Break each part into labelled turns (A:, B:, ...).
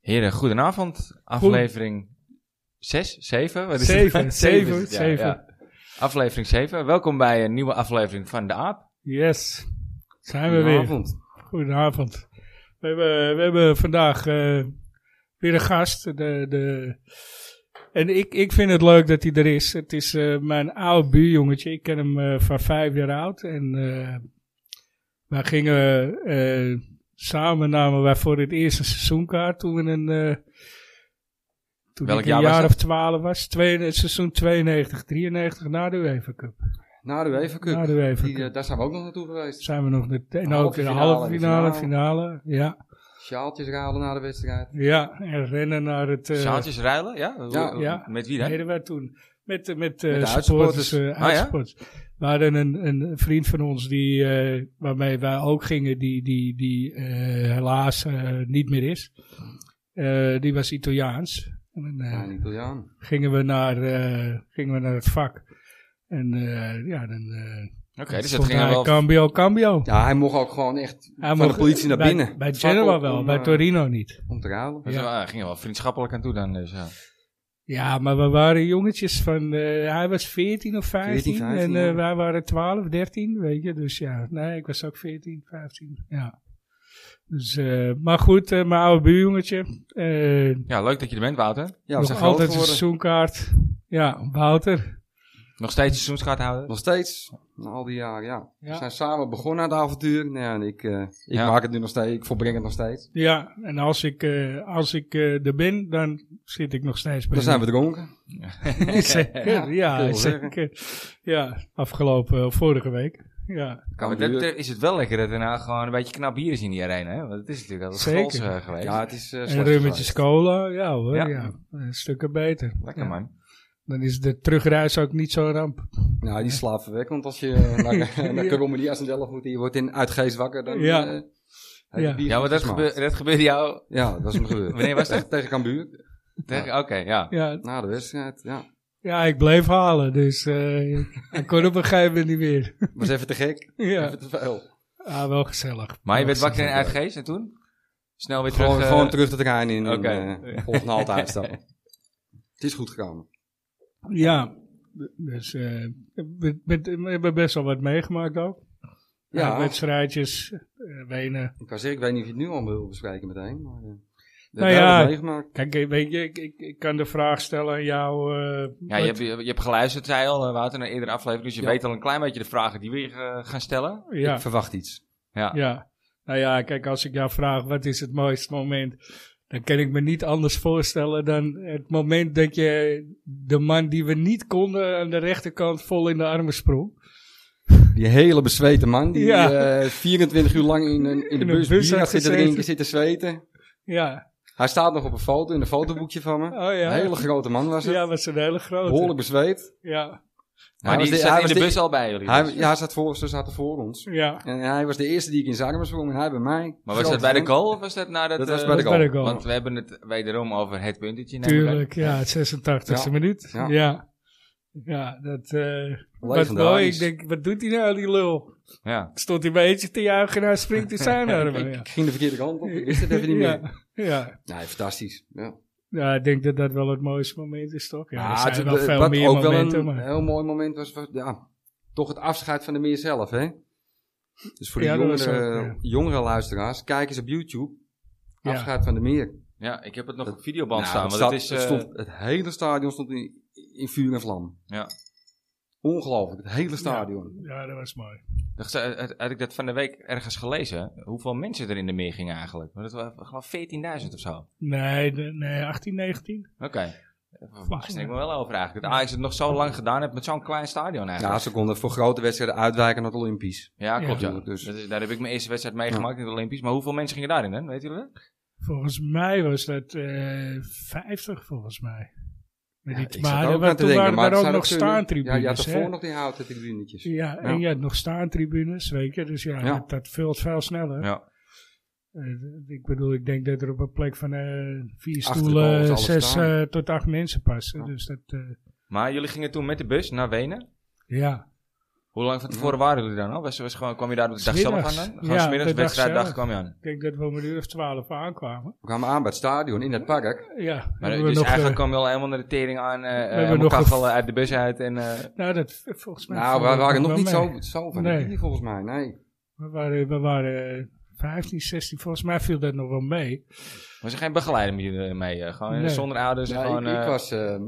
A: Heren, goedenavond. Aflevering 6, 7? Wat Oh, is het? Zeven
B: Zeven, zeven,
A: is het, ja,
B: zeven.
A: ja. Aflevering 7. Welkom bij een nieuwe aflevering van De Aap.
B: Yes, zijn we weer. Goedenavond. We hebben, we hebben vandaag eh, weer een gast. De, de, en ik, ik vind het leuk dat hij er is. Het is eh, mijn oude buurjongetje. Ik ken hem eh, van vijf jaar oud. En eh, wij gingen eh, samen namen wij voor het eerste seizoenkaart toen we een... eh, toen
A: Welk
B: ik
A: jaar
B: een
A: was
B: jaar
A: dat?
B: of twaalf was. Twee, het seizoen 92, 93 na de UEFA Cup.
C: Na de UEFA Cup.
B: Na de UEFA
C: Die, eh,
B: Cup.
C: daar zijn we ook nog naartoe geweest.
B: Zijn we nog net, en
C: Halve
B: ook in de
C: finale,
B: halve finale,
C: finale.
B: finale. Ja,
C: Sjaaltjes halen na de wedstrijd.
B: ja, en rennen naar het... eh,
A: Zaaltjes ruilen, ja? Hoe-
C: ja.
A: hoe-
B: Ja.
A: Met wie dan?
B: deden wij toen met, eh, met, eh
C: Met de
B: supporters.
C: uitsupporters.
B: eh,
A: Ah, ja?
B: uitsupporters. We hadden een, een vriend van ons die, eh, waarmee wij ook gingen, die, die, die eh, helaas eh, niet meer is. Eh, die was Italiaans. En, eh,
C: Ah, Ja, een Italiaan.
B: gingen, we naar, eh, gingen we naar het vak. En eh, ja, dan eh
A: Oké, dus dat
B: stond
A: ging er
B: hij
A: wel...
B: cambio, cambio.
C: Ja, hij mocht ook gewoon echt
B: Hij
C: van de
B: mocht-
C: politie naar
B: bij-
C: binnen.
B: Bij
C: Het vak
B: Genoa
C: op
B: wel,
C: om,
B: bij
C: eh,
B: Torino niet.
C: Om te ruilen.
A: dat is wel- ging er wel vriendschappelijk aan toe dan, dus ja.
B: Ja, maar we waren jongetjes van. eh, hij was 14 of 15.
C: 14, 15,
B: en eh,
C: ja.
B: wij waren 12, 13, weet je. Dus ja, nee, ik was ook 14, 15. Ja. Dus, eh, maar goed, eh, mijn oude buurjongetje. eh
A: Ja, leuk dat je er bent, Wouter.
C: Ja, we zijn
B: nog
C: groot
B: altijd een
C: geworden.
B: seizoenkaart. Ja, Wouter.
A: Nog steeds seizoenskaart houden.
C: Nog steeds. Na al die jaren, ja.
B: Ja.
C: We zijn samen begonnen aan het avontuur. Nou ja, en ik, eh, ik
A: Ja.
C: maak het nu nog steeds. Ik volbreng het nog steeds.
B: Ja, en als ik, eh, als ik eh, er ben, dan zit ik nog steeds bij
C: Dan zijn we
B: hem.
C: dronken.
B: zeker,
C: kun je
B: ja,
C: wel
B: zeker. Ja, afgelopen, eh, vorige week. Ja,
C: Kan
A: Maar
C: het
A: dat,
C: duur.
A: eh, is het wel lekker dat we nou gewoon een beetje knap bier is in die arena, hè? Want het is natuurlijk altijd
B: Zeker.
A: goals eh, geweest.
C: Ja, het is eh,
B: en
C: slecht
B: rummetjes
C: geweest.
B: cola, ja hoor,
A: Ja.
B: ja. Eh, Stukken beter.
A: Lekker,
B: Ja.
A: man.
B: Dan is de terugreis ook niet zo'n ramp.
C: Nou, die slaapt weg. Want als je eh, naar, naar Caromeli Assendelf moet, en je wordt in uitgeest wakker. Dan,
B: Ja.
C: eh, heb je
B: Ja.
C: bier
A: Ja, maar dat,
C: gesmaakt.
A: gebeurde- dat gebeurde jou...
C: Ja, dat was hem gebeurd.
A: Wanneer was dat?
C: Tegen Cambuur.
A: Tegen- Oké, ja.
B: Ja,
C: Na de wedstrijd, ja.
B: ja ik bleef halen, dus eh ik kon op een gegeven moment niet meer.
C: Was even te gek.
B: ja,
C: Even te veel.
B: ah, wel gezellig.
A: Maar je
B: Wel
A: werd wakker in
B: gezellig.
A: Uitgeest en toen? Snel weer
C: Gewoon,
A: terug... eh,
C: gewoon terug de trein in
A: Oké.
C: en eh, volgende halte uitstappen. Het is goed gekomen.
B: Ja, dus eh, we, we- we hebben best wel wat meegemaakt ook. Ja.
C: Ja,
B: wedstrijdjes, eh, Wenen.
C: ik wou zeggen, ik weet niet of je het nu al wil bespreken meteen. Maar, eh, we
B: Nou
C: hebben
B: ja.
C: het meegemaakt.
B: Kijk, eh, weet je, ik, ik, ik kan de vraag stellen aan jou. eh,
A: Ja, je hebt,
B: wat-
A: je hebt geluisterd, zei je al, eh, Wouter, naar eerdere aflevering. Dus je
C: Ja.
A: weet al een klein beetje de vragen die we je eh, gaan stellen.
B: ja.
C: Ik verwacht iets.
A: Ja.
B: Ja, nou ja, kijk, als ik jou vraag wat is het mooiste moment, dan kan ik me niet anders voorstellen dan het moment dat je de man die we niet konden aan de rechterkant vol in de armen sprong.
C: Die hele bezweten man, die
B: Ja.
C: eh, 24 uur lang in, een- in de
B: een
C: bus,
B: bus
C: bus bier
B: had
C: had zitten drinken,
B: gezeten.
C: zitten zweten.
B: Ja,
C: Hij staat nog op een foto, in een fotoboekje van me.
B: oh ja.
C: Een hele grote man was het.
B: ja, was een hele grote.
C: Behoorlijk bezweet.
B: Ja,
A: Maar
C: was
A: die
C: de-
A: zat in
C: was
A: de bus al bij jullie.
C: Hij,
A: dus.
C: ja, hij zat voor, ze zaten voor ons.
B: ja.
C: En hij was de eerste die ik in Zagreb sprong en hij bij mij.
A: Maar was dat
C: Grote
A: bij de
C: vent.
A: goal of was dat na dat...
C: Dat was
A: eh,
C: bij de
B: dat ben ik al.
A: Want we hebben het wederom over het puntetje. neem ik aan.
B: Tuurlijk, ja, het 86e
C: Ja.
B: minuut. Ja.
C: Ja.
B: ja. dat, eh wat mooi.
C: Legendarisch.
B: Ik denk, wat doet hij nou, die lul?
A: Ja.
B: Stond hij bij eentje te juichen en hij springt in zijn armen. Ja.
C: Ik ging de verkeerde kant op, ik wist het even niet meer.
B: Ja, ja.
C: Nee, fantastisch. Ja.
B: Ja, ik denk dat dat wel het mooiste moment is, toch? Ja, er zijn
C: het-
B: wel
C: eh,
B: veel
C: wat
B: meer
C: ook wel
B: momenten,
C: een
B: maar...
C: heel mooi moment was, was ja, toch het afscheid van de meer zelf, hè? Dus voor de
B: Ja, dat was
C: jongere,
B: ook, ja.
C: jongere luisteraars, kijk eens op YouTube.
B: Ja.
C: Afscheid van de meer.
A: ja, ik heb het nog
C: Dat-
A: op videoband
C: Nou,
A: staan.
C: het,
A: Want
C: stad-
A: het is...
C: het
A: eh,
C: stond, het hele stadion stond in, in vuur en vlam.
A: eh, Ja.
C: Ongelooflijk, het hele stadion.
B: Ja, dat was mooi.
A: dat- eh, Had had ik dat van de week ergens gelezen, hoeveel mensen er in de meer gingen eigenlijk? Maar dat was gewoon 14.000 of zo.
B: Nee, de- nee 18, 19?
A: Oké. Daar verbaasde ik me wel over eigenlijk. Dat Ajax het nog zo lang gedaan heeft met zo'n klein stadion
C: Ja,
A: eigenlijk.
C: ze konden voor grote wedstrijden uitwijken naar het Olympisch.
A: Ja, klopt. Ja.
C: Ja. Dus-
A: Dat is- daar heb ik mijn eerste wedstrijd meegemaakt in de Olympisch. Maar hoeveel mensen gingen daarin, hè? weet jullie dat?
B: Volgens mij was dat eh 50, volgens mij. Maar,
C: Ja,
B: die-
C: ik zat
B: maar,
C: ook
B: er- Ah, toen
C: aan te denken,
B: waren
C: maar
B: er
C: het
B: ook
C: zou
B: nog
C: dat kunnen.
B: staantribunes,
C: Ja, je had
B: hè?
C: ervoor nog die houten tribunetjes.
B: Ja, en
C: Ja.
B: je had nog staantribunes, weet je. Dus ja,
C: Ja.
B: Dat, dat vult veel sneller.
A: Ja.
B: Eh, ik bedoel, ik denk dat er op een plek van eh vier
C: Achter de goal is
B: stoelen
C: alles
B: zes
C: staan.
B: eh, tot acht mensen passen.
C: Ja.
B: Dus dat, eh,
A: Maar jullie gingen toen met de bus naar Wenen.
B: ja.
A: Hoe lang van tevoren waren jullie dan al? Was, was gewoon, kwam je daar op de dag zelf aan
B: Smiddags.
A: dan? Gewoon
B: Ja,
A: smiddags,
B: de dag
A: wedstrijddag
B: zelf.
A: kwam je aan.
B: Ik denk dat we om een uur of twaalf aankwamen.
C: We kwamen aan bij het stadion, in het park.
B: Ja,
A: Maar,
B: hebben
A: dus
B: we nog,
A: eigenlijk
B: eh,
A: kwam je al helemaal naar de tering aan, eh, eh
B: hebben
A: helemaal
B: nog een-
A: kachel eh, uit de bus uit. En, eh,
B: nou, dat volgens mij...
C: Nou,
B: viel
C: we
B: het
C: waren nog
B: wel
C: niet
B: mee.
C: zo, zo van
B: Nee.
C: nee. volgens mij, nee.
B: We waren, we waren eh, 15, 16, volgens mij viel dat nog wel mee.
A: was er geen begeleider met jullie mee? eh, gewoon eh,
B: Nee.
A: zonder ouders?
C: Ja,
A: gewoon,
C: ik, ik
A: eh,
C: was ehm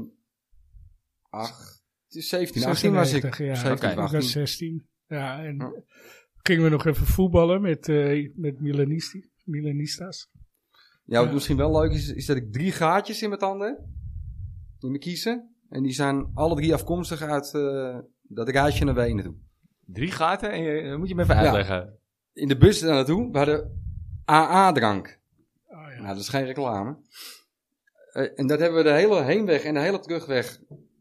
C: acht, 17, 18 was ik.
B: 96, ja. Dus,
C: 17,
A: Oké.
B: Ik was
C: 18.
B: 16. Ja, en
C: Ja.
B: gingen we nog even voetballen met, eh, met Milanisti, Milanistas.
C: Ja, wat
B: Ja.
C: misschien wel leuk is, is dat ik drie gaatjes in mijn tanden heb. In mijn kiezen. En die zijn alle drie afkomstig uit eh, dat reisje naar Wenen toe.
A: Drie gaten? En je, moet je me even uitleggen.
C: In de bus daar naartoe, we hadden AA-drank.
B: Oh, ja.
C: Nou, dat is geen reclame. Eh, en dat hebben we de hele heenweg en de hele terugweg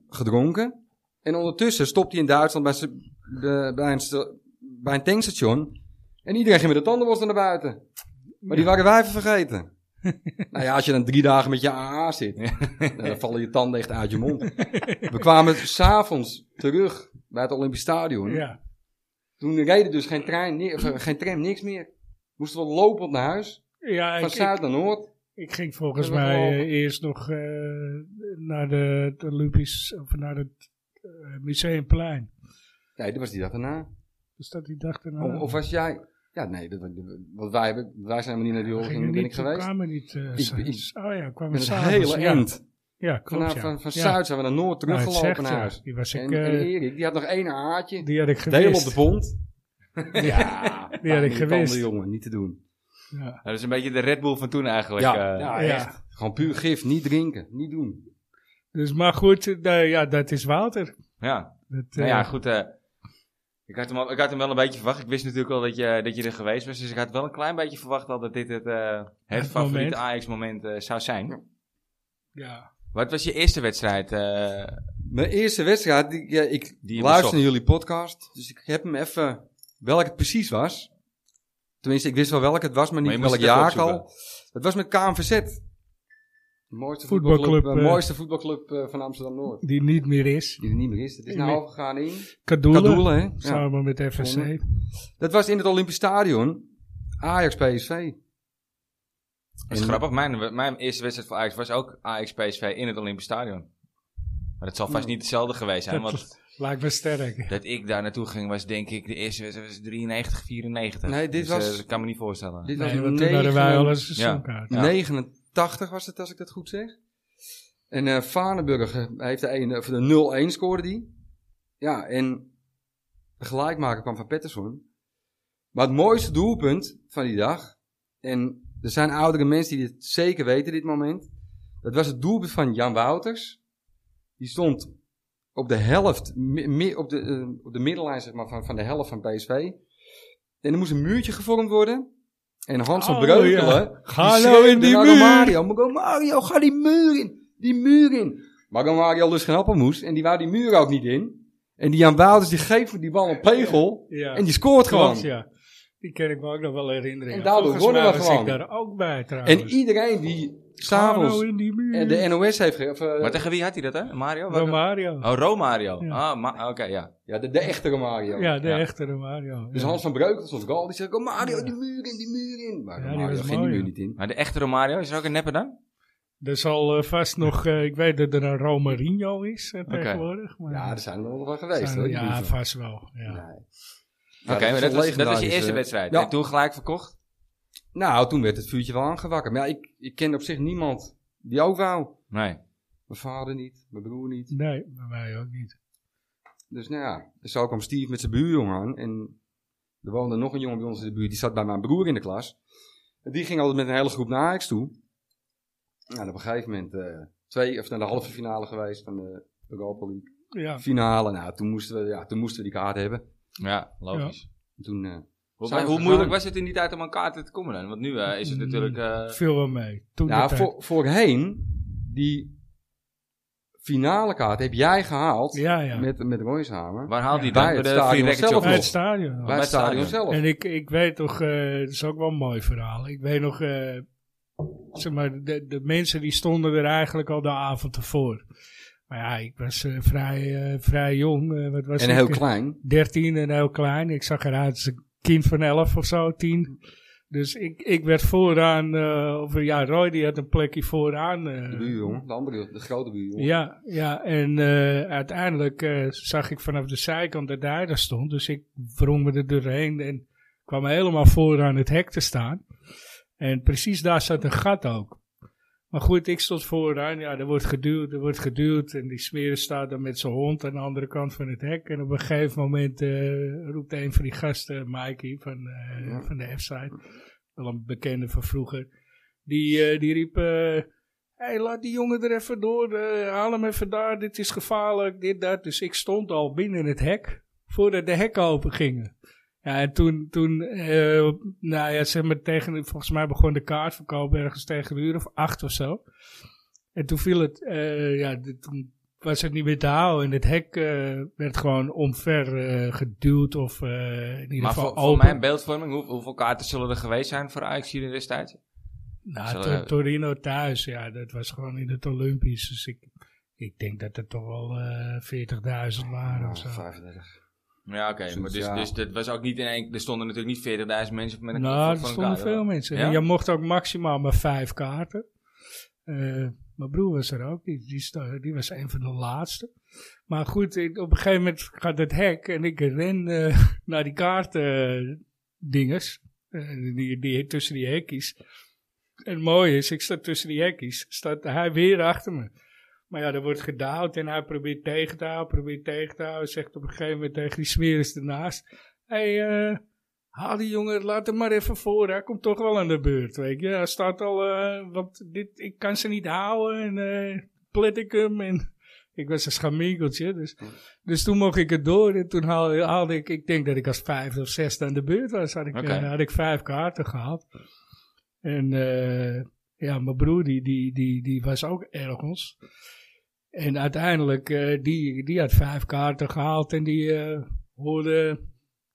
C: gedronken. En ondertussen stopte hij in Duitsland bij, z'n- de- bij, een, sta- bij een tankstation. En iedereen ging met de tandenborstel naar buiten. Maar die waren wij even vergeten. nou ja, als je dan drie dagen met je AA zit, nou, dan vallen je tanden echt uit je mond. We kwamen s'avonds terug bij het Olympisch Stadion.
B: ja.
C: Toen reden dus geen, trein, ni- of, eh, geen tram, niks meer. Moesten we lopend naar huis,
B: Ja,
C: van
B: ik, ik,
C: zuid naar noord.
B: ik ging volgens
C: Hebben we
B: mij eh,
C: gelopen.
B: eerst nog eh, naar de, het Olympisch, of naar het eh, Museumplein.
C: Nee, dat was die dag daarna.
B: Dus dat die dag daarna.
C: Of, of was jij... Ja, nee, dat, want wij, hebben, wij zijn helemaal niet naar
B: We
C: die
B: gingen
C: oorlog ben ik
B: niet, we
C: geweest.
B: kwamen niet. eh,
C: Ik-
B: s-
C: ik-
B: s- oh ja, kwamen
C: Met het
B: s'avonds,
C: hele
B: ja.
C: eind.
B: Ja, klopt.
C: Vanaf,
B: ja.
C: van, van
B: Ja.
C: Zuid zijn we naar Noord
B: Nou, het
C: teruggelopen
B: zegt,
C: naar
B: ja.
C: huis.
B: Die was ik,
C: En, en
B: eh,
C: Erik, die had nog één haartje.
B: die had ik
C: Deel op
B: gewist.
C: de Ah, pond. Ja,
B: Die had ik gewist.
C: andere jongen, niet te doen.
B: Ja.
A: Dat is een beetje de Red Bull van toen eigenlijk.
C: ja,
A: eh.
C: ja,
B: ja.
C: echt. Gewoon puur gif, niet drinken, niet doen.
B: Dus, maar goed, eh, nou ja, dat is Wouter.
A: ja.
B: Dat,
A: Nou ja,
B: eh,
A: goed. eh, ik, had hem al- ik had hem wel een beetje verwacht. Ik wist natuurlijk al dat je, dat je er geweest was. Dus ik had wel een klein beetje verwacht al dat dit het, eh het
B: Het
A: favoriete
B: moment.
A: Ajax-moment eh, zou
C: Ja.
A: zijn.
B: ja.
A: Wat was je eerste wedstrijd? eh,
C: Mijn eerste wedstrijd, die, ja, ik
A: Die je
C: luister
A: bezocht.
C: naar jullie podcast. Dus ik heb hem even, welk het precies was. Tenminste, ik wist wel welk het was, maar
A: Maar
C: niet
A: je
C: welk
A: moest het even
C: jaar al. Het was met KMVZ. De mooiste voetbalclub,
B: Voetbalclub,
C: eh,
B: eh,
C: mooiste voetbalclub eh, van Amsterdam-Noord.
B: Die niet meer is.
C: Die er niet meer is. Het is
B: Ik
C: nou
B: weet-
C: overgegaan in...
B: Kadoelen.
C: Kadoelen, hè? Ja.
B: Samen met FSC.
C: Dat was in het Olympisch Stadion. Ajax-PSV.
A: dat is
C: En-
A: grappig. Mijn, mijn eerste wedstrijd voor Ajax was ook Ajax-PSV in het Olympisch Stadion. Maar dat zal vast niet hetzelfde geweest zijn.
B: Dat-
A: Want
B: Lijkt me sterk.
A: dat ik daar naartoe ging was denk ik de eerste wedstrijd was 93, 94.
C: Nee, dit
A: Dus, eh,
C: was-
A: dat kan me niet voorstellen.
C: Dit was
B: Nee, want toen hadden wij al een
C: 99
B: seizoenkaart.
A: Ja.
C: 89 was het, als ik dat goed zeg. En eh Vaneburg eh, heeft de, een- of de 0-1 scoorde die. Ja, en de gelijkmaker kwam van Pettersson. Maar het mooiste doelpunt van die dag, en er zijn oudere mensen die dit zeker weten dit moment, dat was het doelpunt van Jan Wouters. Die stond op de helft, mi- mi- op, de, eh, op de middenlijn zeg maar, van, van de helft van PSV. En er moest een muurtje gevormd worden. En Hans van
B: Oh,
C: Breukelen,
B: ja. Ga
C: die
B: nou
C: schreeuwde
B: in die
C: naar
B: muur.
C: Romario, Mago Mario, ga die muur in. Die muur in. Maar Romario lust geen appelmoes. En die wou die muur ook niet in. En die Jan Wouters die geeft die bal een pegel.
B: Ja.
C: En die scoort gewoon.
B: Klopt, ja. Die kan ik me ook nog wel herinneren.
C: En
B: ja.
C: daardoor
B: Volgens
C: wonnen
B: mij
C: we
B: was
C: gewoon.
B: ik daar ook bij trouwens.
C: En iedereen die
B: Hallo
C: s'avonds
B: in die muur.
C: eh, de NOS heeft ge- of, eh,
A: Maar tegen wie had hij dat, hè? Mario?
B: Romario.
A: Oh, Romario.
B: Ja.
A: Ah, ma- oké, ja.
C: ja, de, de echte Romario.
B: ja, de
A: Ja.
B: echte Romario.
C: Dus
B: ja.
C: Hans van Breukelen stond goal. Die zegt, Romario,
B: Ja.
C: die muur in, die muur in. Maar
B: Ja, die
C: Romario
B: was
C: ging die
B: mooi,
C: muur
B: ja.
C: niet in.
A: Maar de echte Romario, is er ook een nepper dan?
B: Er zal eh, vast nog, eh, ik weet dat er een Romarinho is eh, tegenwoordig. Maar
C: Ja, er zijn er nog wel geweest.
B: zijn-
C: hoor, die
B: ja
C: brieven.
B: vast wel. Ja.
C: Nee.
A: Oké,
C: Ja,
A: maar
C: is
A: dat was,
C: een
A: dat was je
C: legendarische-
A: eerste wedstrijd.
C: Ja.
A: En toen gelijk verkocht?
C: Nou, toen werd het vuurtje wel aangewakkerd. Maar ja, ik, ik kende op zich niemand die ook wou.
A: Nee.
C: Mijn vader niet, mijn broer niet.
B: Nee, bij mij ook niet.
C: Dus nou ja, zo kwam Steve met zijn buurjongen aan. En er woonde nog een jongen bij ons in de buurt, die zat bij mijn broer in de klas. En die ging altijd met een hele groep naar Ajax toe. Nou, en op een gegeven moment eh, twee, of naar de halve finale geweest van de Europa League.
B: Ja.
C: Finale, nou, toen moesten we, ja, toen moesten we die kaart hebben.
A: Ja, logisch.
C: En toen, eh,
A: Hoe,
C: Zijn we
A: hoe
C: gegaan.
A: moeilijk was het in die tijd om aan kaarten te komen dan? Want nu eh, is het
B: Mm.
A: natuurlijk... eh,
B: Veel wel mee. Toen de
C: nou,
B: tijd.
C: voor, voorheen, die finale kaart heb jij gehaald
B: ja, ja.
C: met, met Royshamer.
A: waar haalt die
C: Bij
A: dan?
C: het
A: Bij de
C: stadion
A: Free Records
C: zelf
A: of
B: Bij het
A: nog?
B: stadion. al.
C: bij het stadion zelf.
B: En ik, ik weet toch, eh, dat is ook wel een mooi verhaal. Ik weet nog, eh, zeg maar, de, de mensen die stonden er eigenlijk al de avond ervoor. Maar ja, ik was eh, vrij, eh, vrij jong. eh, wat was
C: En
B: ik?
C: heel
B: Eh,
C: klein.
B: 13 en heel klein. Ik zag eruit als een kind van 11 of zo, 10. Dus ik, ik werd vooraan, eh, of ja, Roy die had een plekje vooraan. eh,
C: De buurjongen. De andere, de grote buurjongen.
B: ja, ja, en eh, uiteindelijk eh, zag ik vanaf de zijkant dat hij daar stond. Dus ik wrong me er doorheen en kwam helemaal vooraan het hek te staan. En precies daar zat een gat ook. Maar goed, ik stond vooraan. Ja, er wordt geduwd, er wordt geduwd. En die smeren staat dan met zijn hond aan de andere kant van het hek. En op een gegeven moment eh, roept een van die gasten, Mikey van, eh,
C: Ja.
B: van de F-site. Wel een bekende van vroeger. Die, eh, die riep... eh, Hé, hey, laat die jongen er even door. eh, haal hem even daar. Dit is gevaarlijk. Dit, dat. Dus ik stond al binnen het hek. Voordat de hekken open gingen. Ja, en toen, toen eh, nou ja, zeg maar tegen, volgens mij begon de kaartverkoop ergens tegen een uur of acht of zo. En toen viel het, eh, ja, de- toen was het niet meer te houden. En het hek eh, werd gewoon omver eh, geduwd of eh, in ieder
A: Maar
B: geval
A: voor, voor
B: open.
A: mijn beeldvorming, hoe- hoeveel kaarten zullen er geweest zijn voor Ajax hier destijds?
B: Nou,
A: Zullen
B: Tor-
A: we-
B: Torino thuis, ja, dat was gewoon in het Olympisch. Dus ik, ik denk dat er toch wel eh 40.000 waren
C: Ja,
B: of zo.
C: 35.
A: Ja, oké.
C: Zoiets,
A: maar dus,
C: ja.
A: dus dat was ook niet in één... Er stonden natuurlijk niet 40.000 mensen met een
B: nou, er
A: voor een
B: stonden
A: kaart, hoor.
B: veel mensen.
A: Ja?
B: En je mocht ook maximaal maar vijf kaarten. Eh, mijn broer was er ook, die, die, sta- die was een van de laatste. Maar goed, ik- op een gegeven moment gaat het hek en ik ren eh, naar die kaartendingers. eh, die, die, tussen die hekjes. En het mooie is, ik sta tussen die hekjes, staat hij weer achter me. Maar ja, er wordt gedouwd en hij probeert tegen te houden, probeert tegen te houden. Zegt op een gegeven moment tegen die smeris ernaast. Hé, hey, eh, haal die jongen, laat hem maar even voor. Hij komt toch wel aan de beurt, weet je. Hij staat al, eh, want dit, ik kan ze niet houden en eh plet ik hem. En ik was een schaminkeltje, dus, dus toen mocht ik het door. En toen haalde, haalde ik, ik denk dat ik als vijfde of zesde aan de beurt was, had ik,
A: Oké.
B: eh, had ik vijf kaarten gehaald. En eh, ja, mijn broer, die, die, die, die was ook ergens. En uiteindelijk, eh, die, die had vijf kaarten gehaald en die eh, hoorde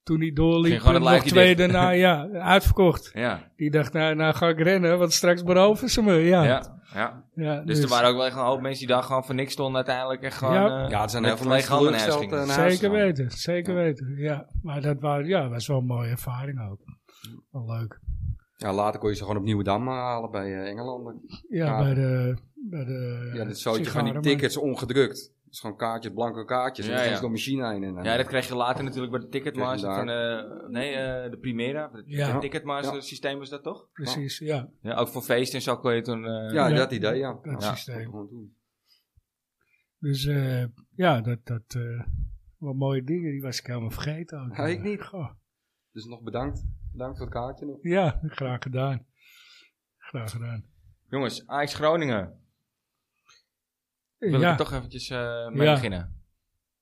B: toen hij doorliep eh,
A: Ging gewoon het
B: nog
A: lijkje
B: twee
A: dicht.
B: daarna, ja, uitverkocht.
A: Ja,
B: Die dacht, nou, nou ga ik rennen, want straks beroven ze me. Ja, ja.
A: ja, ja. Dus, er waren ook wel echt een hoop mensen die daar gewoon voor niks stonden uiteindelijk. En gewoon,
B: Ja.
A: eh,
C: Ja, er zijn
A: met
C: heel veel mensen
A: lege handen in huis
C: teleurgesteld,
A: gingen.
C: eh, naar huis
B: Zeker
C: gegaan.
B: weten, zeker
C: Ja.
B: weten, ja. Maar dat was, ja, was wel een mooie ervaring ook. Wel leuk.
C: Ja, later kon je ze gewoon op Nieuwedam halen bij eh, Engelanden.
B: Ja,
C: Ja.
B: bij de... Bij de
C: Ja, dit zootje van die
B: sigarenman.
C: tickets ongedrukt. Dus gewoon kaartjes, blanke kaartjes.
A: Ja,
C: en dan
A: ja.
C: ja. door machine heen. En, eh,
A: Ja, dat kreeg je later natuurlijk bij de Ticketmaster
C: Kreeg je
A: van, eh, nee, eh, de Primera. Het
B: Ja.
A: Ticketmaster
C: Ja.
A: systeem was dat toch?
B: Precies, ja.
A: Ja, ook voor feesten en zo kon je toen... eh,
C: ja,
B: Ja.
C: dat idee, ja.
B: Dat
A: Ja.
B: systeem.
C: Gewoon doen.
B: Dus eh, ja, dat, dat eh wat mooie dingen, die was ik helemaal vergeten. ook.
C: Ja, ik niet.
B: Goh,
C: Dus nog bedankt. Bedankt voor het kaartje nog.
B: ja, graag gedaan. Graag gedaan.
A: Jongens, Ajax Groningen. Wil
B: ja,
A: ik er toch eventjes eh, mee
B: Ja.
A: beginnen.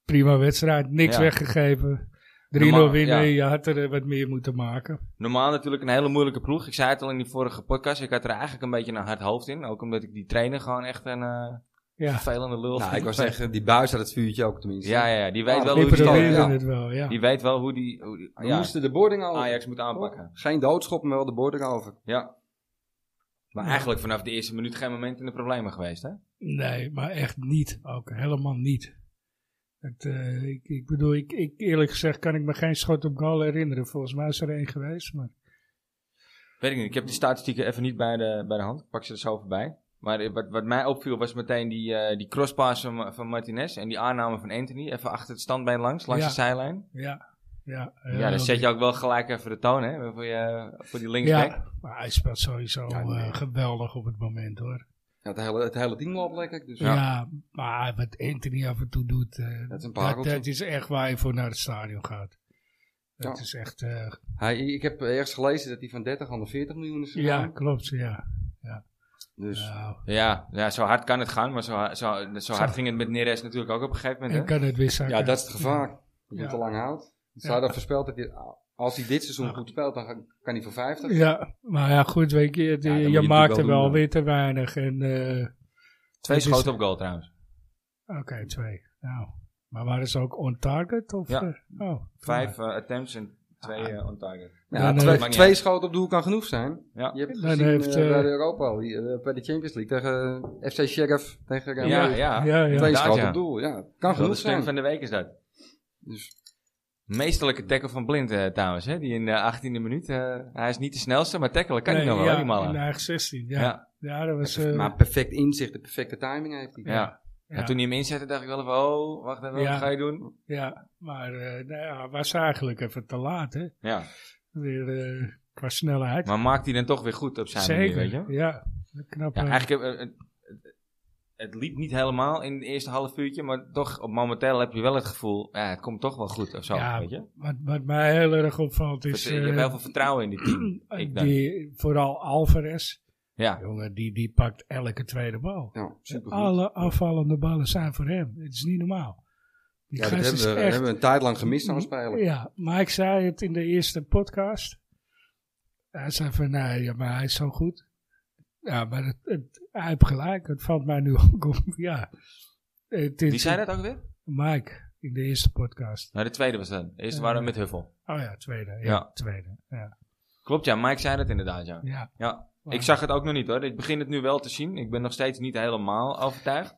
B: prima wedstrijd, niks
A: Ja.
B: weggegeven. 3-0
A: Normaal,
B: winnen,
A: ja.
B: je had er eh, wat meer moeten maken.
A: Normaal natuurlijk een hele moeilijke ploeg. Ik zei het al in die vorige podcast. Ik had er eigenlijk een beetje een hard hoofd in. Ook omdat ik die trainer gewoon echt een eh
B: Ja,
A: vervelende lul
C: Nou,
A: vind.
C: ik was zeggen, die buis had het vuurtje ook tenminste.
A: Ja, ja, ja, die weet
C: Ah,
A: wel
B: we
A: hoe die,
C: Liverpool,
B: proberen
A: ja.
C: ja.
B: het wel, ja.
A: die weet wel hoe die, hoe die
C: We
A: ja,
C: moesten de boarding over. Oh,
A: Ajax moet aanpakken.
C: Geen doodschop, maar wel de boarding over.
A: Ja. Maar
B: Ja.
A: eigenlijk vanaf de eerste minuut geen moment in de problemen geweest, hè?
B: Nee, maar echt niet. Ook helemaal niet. Het, eh, ik, ik bedoel, ik, ik, eerlijk gezegd kan ik me geen schot op goal herinneren. Volgens mij is er één geweest, maar...
A: Weet ik niet. Ik heb die statistieken even niet bij de, bij de hand. Ik pak ze er zo voorbij. Maar eh, wat, wat mij opviel was meteen die, eh, die crosspass van, Ma- van Martinez en die aanname van Anthony. Even achter het standbeen langs, langs
B: Ja.
A: de zijlijn.
B: Ja, ja.
A: Ja, dan zet je ook wel gelijk even de toon, hè? Voor, je, voor die linksback.
B: Ja, maar hij speelt sowieso
C: Ja, nee.
B: eh, geweldig op het moment hoor.
C: Ja, het, hele, het hele team loopt lekker. Dus
B: Ja,
A: Ja.
B: maar wat Anthony af en toe doet, eh,
C: Dat is een
B: dat,
C: pareltje.
B: dat is echt waar je voor naar het stadion gaat. Dat
C: Ja.
B: is echt, eh,
C: Hij, ik heb ergens gelezen dat hij van 30 naar 40 miljoen is gegaan.
B: ja, klopt, ja.
C: Dus
B: Nou,
A: Ja, ja, zo hard kan het gaan, maar zo, ha- zo, zo hard ging het met Neres natuurlijk ook op een gegeven
B: ik
A: moment. Hè?
B: kan het weer zakken.
C: ja, dat is het gevaar. Dat
B: Ja.
C: je te lang houdt. Het
B: Ja.
C: staat al voorspeld dat hij, als hij dit seizoen
B: Ja.
C: goed speelt, dan ga- kan hij voor 50.
B: Ja, maar ja, goed, weet je, het-
C: Ja, dan
B: je,
C: moet je het
B: maakt er
C: natuurlijk wel
B: wel
C: doen,
B: weer te weinig. En, eh,
A: Twee
B: het is-
A: schoten op goal trouwens.
B: Oké, twee. Nou, maar waren ze ook on target? Of,
A: Ja.
B: eh, oh,
A: Vijf eh, attempts en twee eh, on target.
C: Ja,
B: Dan,
C: twee,
B: eh,
A: maakt niet
C: twee
A: uit.
C: schoten op de hoek kan genoeg zijn.
A: Ja.
C: Je hebt
B: Dan
C: gezien
B: heeft,
C: eh,
B: eh,
C: bij de Europa League, eh, bij de Champions League tegen eh, FC Sheriff. Tegen Real
A: ja,
C: Madrid.
A: ja.
B: ja, ja.
C: Twee
A: inderdaad,
C: schoten
A: ja.
C: op doel. Ja, kan
A: Wel de
C: genoeg
A: steun
C: zijn.
A: van de week is dat.
C: Dus,
A: Meesterlijke tackle van Blind eh, trouwens, hè? die in de 18e minuut. eh, hij is niet de snelste, maar tackelen kan
B: Nee,
A: hij nog wel,
B: ja,
A: hè, die man.
B: In de eigen 16, ja. Ja,
A: Ja.
B: dat was... eh,
C: maar perfect inzicht, de perfecte timing heeft hij.
A: Ja. Ja,
B: Ja.
A: toen hij hem inzette, dacht ik wel even, oh, wacht even,
B: Ja.
A: wat ga je doen?
B: ja, maar eh nou ja, was eigenlijk even te laat, hè.
A: Ja.
B: Weer eh, qua snelheid.
A: Maar maakt hij dan toch weer goed op zijn
B: Zeker,
A: manier, weet je?
B: ja. Knap,
A: Ja,
B: eh,
A: eigenlijk, eh, het, het- het liep niet helemaal in het eerste half uurtje, maar toch, op momenteel heb je wel het gevoel, ja, het komt toch wel goed of zo,
B: Ja,
A: weet je?
B: wat, wat mij heel erg opvalt is...
A: Dus, je hebt
B: eh,
A: heel veel vertrouwen in dit team. ik dan.
B: die, vooral Alvarez.
A: Ja.
B: Jongen, die, die pakt elke tweede bal.
C: Ja, supergoed.
B: Alle afvallende ballen zijn voor hem. Het is niet normaal. Die
C: Ja, dat
B: gast
C: hebben
B: is
C: we,
B: echt...
C: hebben we een tijd lang gemist aan spelen.
B: Ja, maar ik zei het in de eerste podcast. Hij zei van, nee, ja, maar hij is zo goed. Ja, maar het, het, hij heeft gelijk. Het valt mij nu ook op. Ja. Het is-
A: Wie zei dat ook weer?
B: Mike, in de eerste podcast.
A: Nou, de tweede was dat. De eerste waren we met Huffel.
B: Oh ja, tweede. Ja,
A: Ja.
B: tweede. Ja.
A: Klopt, ja, Mike zei dat inderdaad, ja.
B: ja.
A: Ja,
B: maar-
A: ik zag het ook nog niet hoor. Ik begin het nu wel te zien. Ik ben nog steeds niet helemaal overtuigd.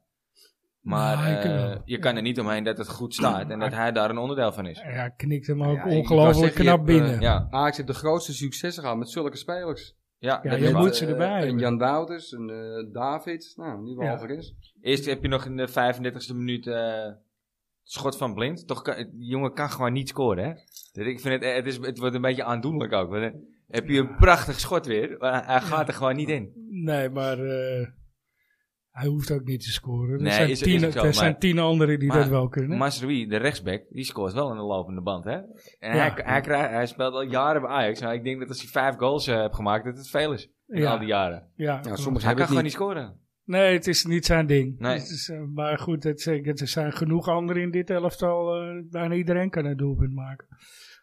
A: Maar
B: Nou, ik
A: eh,
B: wel.
A: je kan er niet omheen dat het goed staat en dat hij daar een onderdeel van is.
B: Ja, knikt hem ook
C: Ja, ik wou
B: ongelooflijk
C: zeggen, je
B: knap
C: hebt, eh,
B: binnen.
A: Ja,
C: Ajax heeft de grootste successen gehad met zulke spelers.
A: ja,
B: Ja,
A: dat
B: je
A: is waar.
B: moet- ze
C: Eh,
B: erbij
C: Een
B: hebben.
C: Jan Wouters, een eh, David, nou, nu wel
B: Ja.
C: Alvarez.
A: Eerst heb je nog in de 35e minuut eh, schot van blind. Toch kan, die jongen kan gewoon niet scoren. Hè? Dus ik vind het, eh, het, is, het wordt een beetje aandoenlijk ook. Want, eh, heb je een prachtig schot weer, maar hij gaat er gewoon niet in.
B: Nee, maar eh, hij hoeft ook niet te scoren. Er,
A: Nee,
B: zijn,
A: is- is
B: tien,
A: ook zo,
B: er zijn
A: maar-
B: tien anderen die
A: maar-
B: dat wel kunnen.
A: Masrui, de rechtsback, die scoort wel in de lopende band, hè? En
B: Ja.
A: hij, hij, krijgt- hij speelt al jaren bij Ajax. Nou, ik denk dat als hij vijf goals eh, hebt gemaakt, dat het veel is. In
B: Ja.
A: al die jaren.
B: ja,
C: Ja,
B: klopt.
C: sommigen
A: Hij kan
C: hebben
A: gewoon
C: het
A: niet
C: niet.
A: scoren.
B: Nee, het is niet zijn ding.
A: Nee.
B: Het is, eh, maar goed, het, zeg ik, het- er zijn genoeg anderen in dit elftal. eh, bijna iedereen kan een doelpunt maken.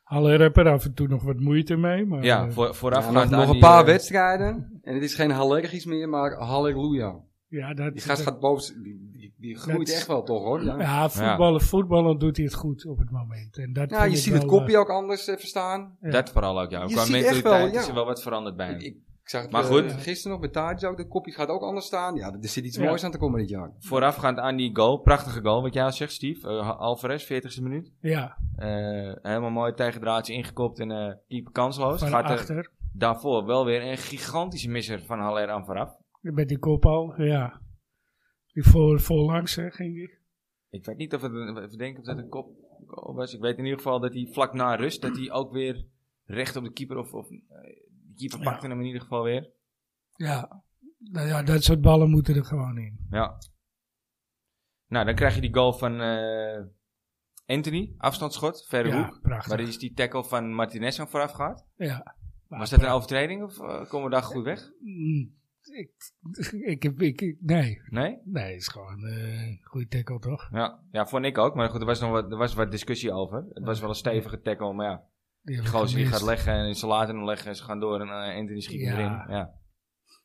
B: Haller heb er af en toe nog wat moeite mee. Maar,
A: Ja,
B: eh,
A: voor,
C: Ja,
A: vooraf
C: nog, nog een
A: eh,
C: paar wedstrijden. En het is geen allergisch meer, maar halleluja.
B: ja, dat,
C: Die gast
B: dat-
C: gaat boven, die, die, die groeit
B: Dat-
C: echt wel toch hoor. Ja,
B: ja, voetballen, voetballen doet hij het goed op het moment. En dat
C: ja
B: vind
C: je
B: ik
C: ziet het
B: wel, eh,
C: kopje ook anders even staan.
B: Ja.
A: Dat vooral ook, ja.
C: Je
A: Qua
C: ziet echt
A: mentaliteit
C: wel, ja.
A: is er wel wat veranderd bij hem.
C: Ik, ik, ik zag het
A: Maar
C: eh,
A: goed.
C: gisteren nog met Tadis ook, de kopje gaat ook anders staan. Ja, er zit iets
B: Ja.
C: moois aan te komen dit jaar.
A: Voorafgaand aan die goal, prachtige goal, wat jij al zegt, Steve. Eh, Ha- Alvarez, 40ste minuut.
B: ja,
A: Eh, helemaal mooi tegendraadje ingekopt en eh keeper kansloos.
B: van
A: Gaat er
B: achter.
A: daarvoor wel weer een gigantische misser van Haller aan vooraf.
B: Met die kop al, ja. Die voor, voorlangs hè, ging die.
A: Ik weet niet of het een, even denken of dat een kop goal was. Ik weet in ieder geval dat hij vlak na rust, dat hij ook weer recht op de keeper of, of eh, de keeper
B: Ja.
A: pakte hem in ieder geval weer.
B: Ja. Nou ja, dat soort ballen moeten er gewoon in.
A: Ja. Nou, dan krijg je die goal van eh, Anthony, afstandsschot, verre hoek.
B: Ja,
A: Maar
B: prachtig.
A: is die tackle van Martinez aan vooraf gaat.
B: Ja. Maar
A: Was dat een overtreding of eh, komen we daar goed weg?
B: Mm, Ik, ik, heb- ik, ik- nee,
A: Nee?
B: nee, is gewoon eh, een goede tackle toch?
A: Ja, ja, vond ik ook. Maar goed, er was nog wat, er was wat discussie over. Het was wel een stevige tackle, maar ja.
B: Die heb
A: Die
B: ik
A: gozer die
B: gemist.
A: gaat leggen en ze laten hem leggen en ze gaan door en eh, Anthony schiet
B: Ja.
A: hem erin. Ja.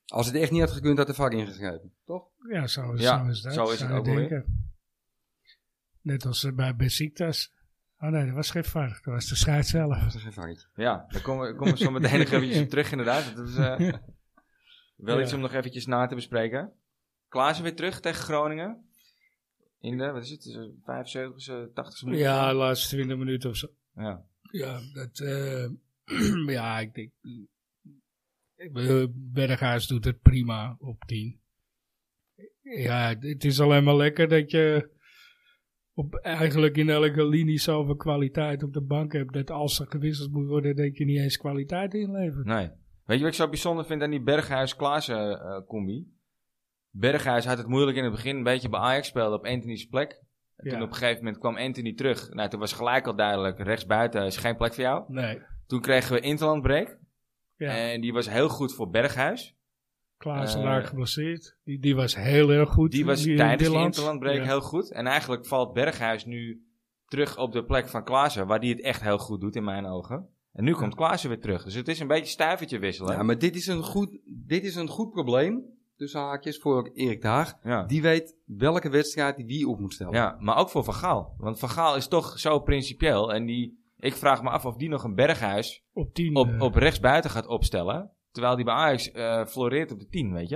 C: Als het echt niet had gekund, had de vak ingegrepen. Toch?
B: Ja, zo is,
A: Ja,
B: zo is dat.
A: zo is
B: zou
A: het
B: je
A: ook wel
B: denken. Net als eh, bij Besiktas. Oh nee, dat was geen VAR. Dat was de scheids zelf.
C: Dat is geen vakje.
A: Ja, daar komen we, komen we zo meteen nog eventjes op terug inderdaad. Dat is eh, wel
B: Ja.
A: iets om nog eventjes na te bespreken. Klaassen weer terug tegen Groningen. In de, wat is het, Eh, 75 e 80 e minuut?
B: Ja, de laatste 20 minuten of zo.
A: Ja.
B: Ja, dat, eh, ja, ik denk. eh, Berghuis doet het prima op 10. Ja, het is alleen maar lekker dat je op, eigenlijk in elke linie zoveel kwaliteit op de bank hebt. Dat als er gewisseld moet worden, dat je niet eens kwaliteit inlevert.
A: Nee. Weet je wat ik zo bijzonder vind aan die Berghuis-Klaassen eh, combi? Berghuis had het moeilijk in het begin, een beetje bij Ajax speelde op Anthony's plek. En Toen
B: Ja.
A: op een gegeven moment kwam Anthony terug. Nou, toen was gelijk al duidelijk, rechtsbuiten is geen plek voor jou.
B: Nee.
A: Toen kregen we Interland break.
B: Ja,
A: En die was heel goed voor Berghuis.
B: Klaassen
A: eh,
B: raakt geblesseerd. Die, die was heel erg goed.
A: Die was
B: in
A: tijdens de
B: Dillands.
A: interlandbreak
B: Ja.
A: heel goed. En eigenlijk valt Berghuis nu terug op de plek van Klaassen, waar die het echt heel goed doet in mijn ogen. En nu komt Klaassen weer terug. Dus het is een beetje stuivertje wisselen.
C: Ja,
A: Ja,
C: maar dit is een goed, dit is een goed probleem. Tussen haakjes voor Erik de Haag.
A: ja.
C: Die weet welke wedstrijd hij wie op moet stellen.
A: maar ook voor Van Gaal. Want Van Gaal is toch zo principieel en die Ik vraag me af of die nog een Berghuis
B: Op 10.
A: op,
B: eh,
A: op rechtsbuiten gaat opstellen. Terwijl die bij Ajax eh, floreert op de 10, weet je?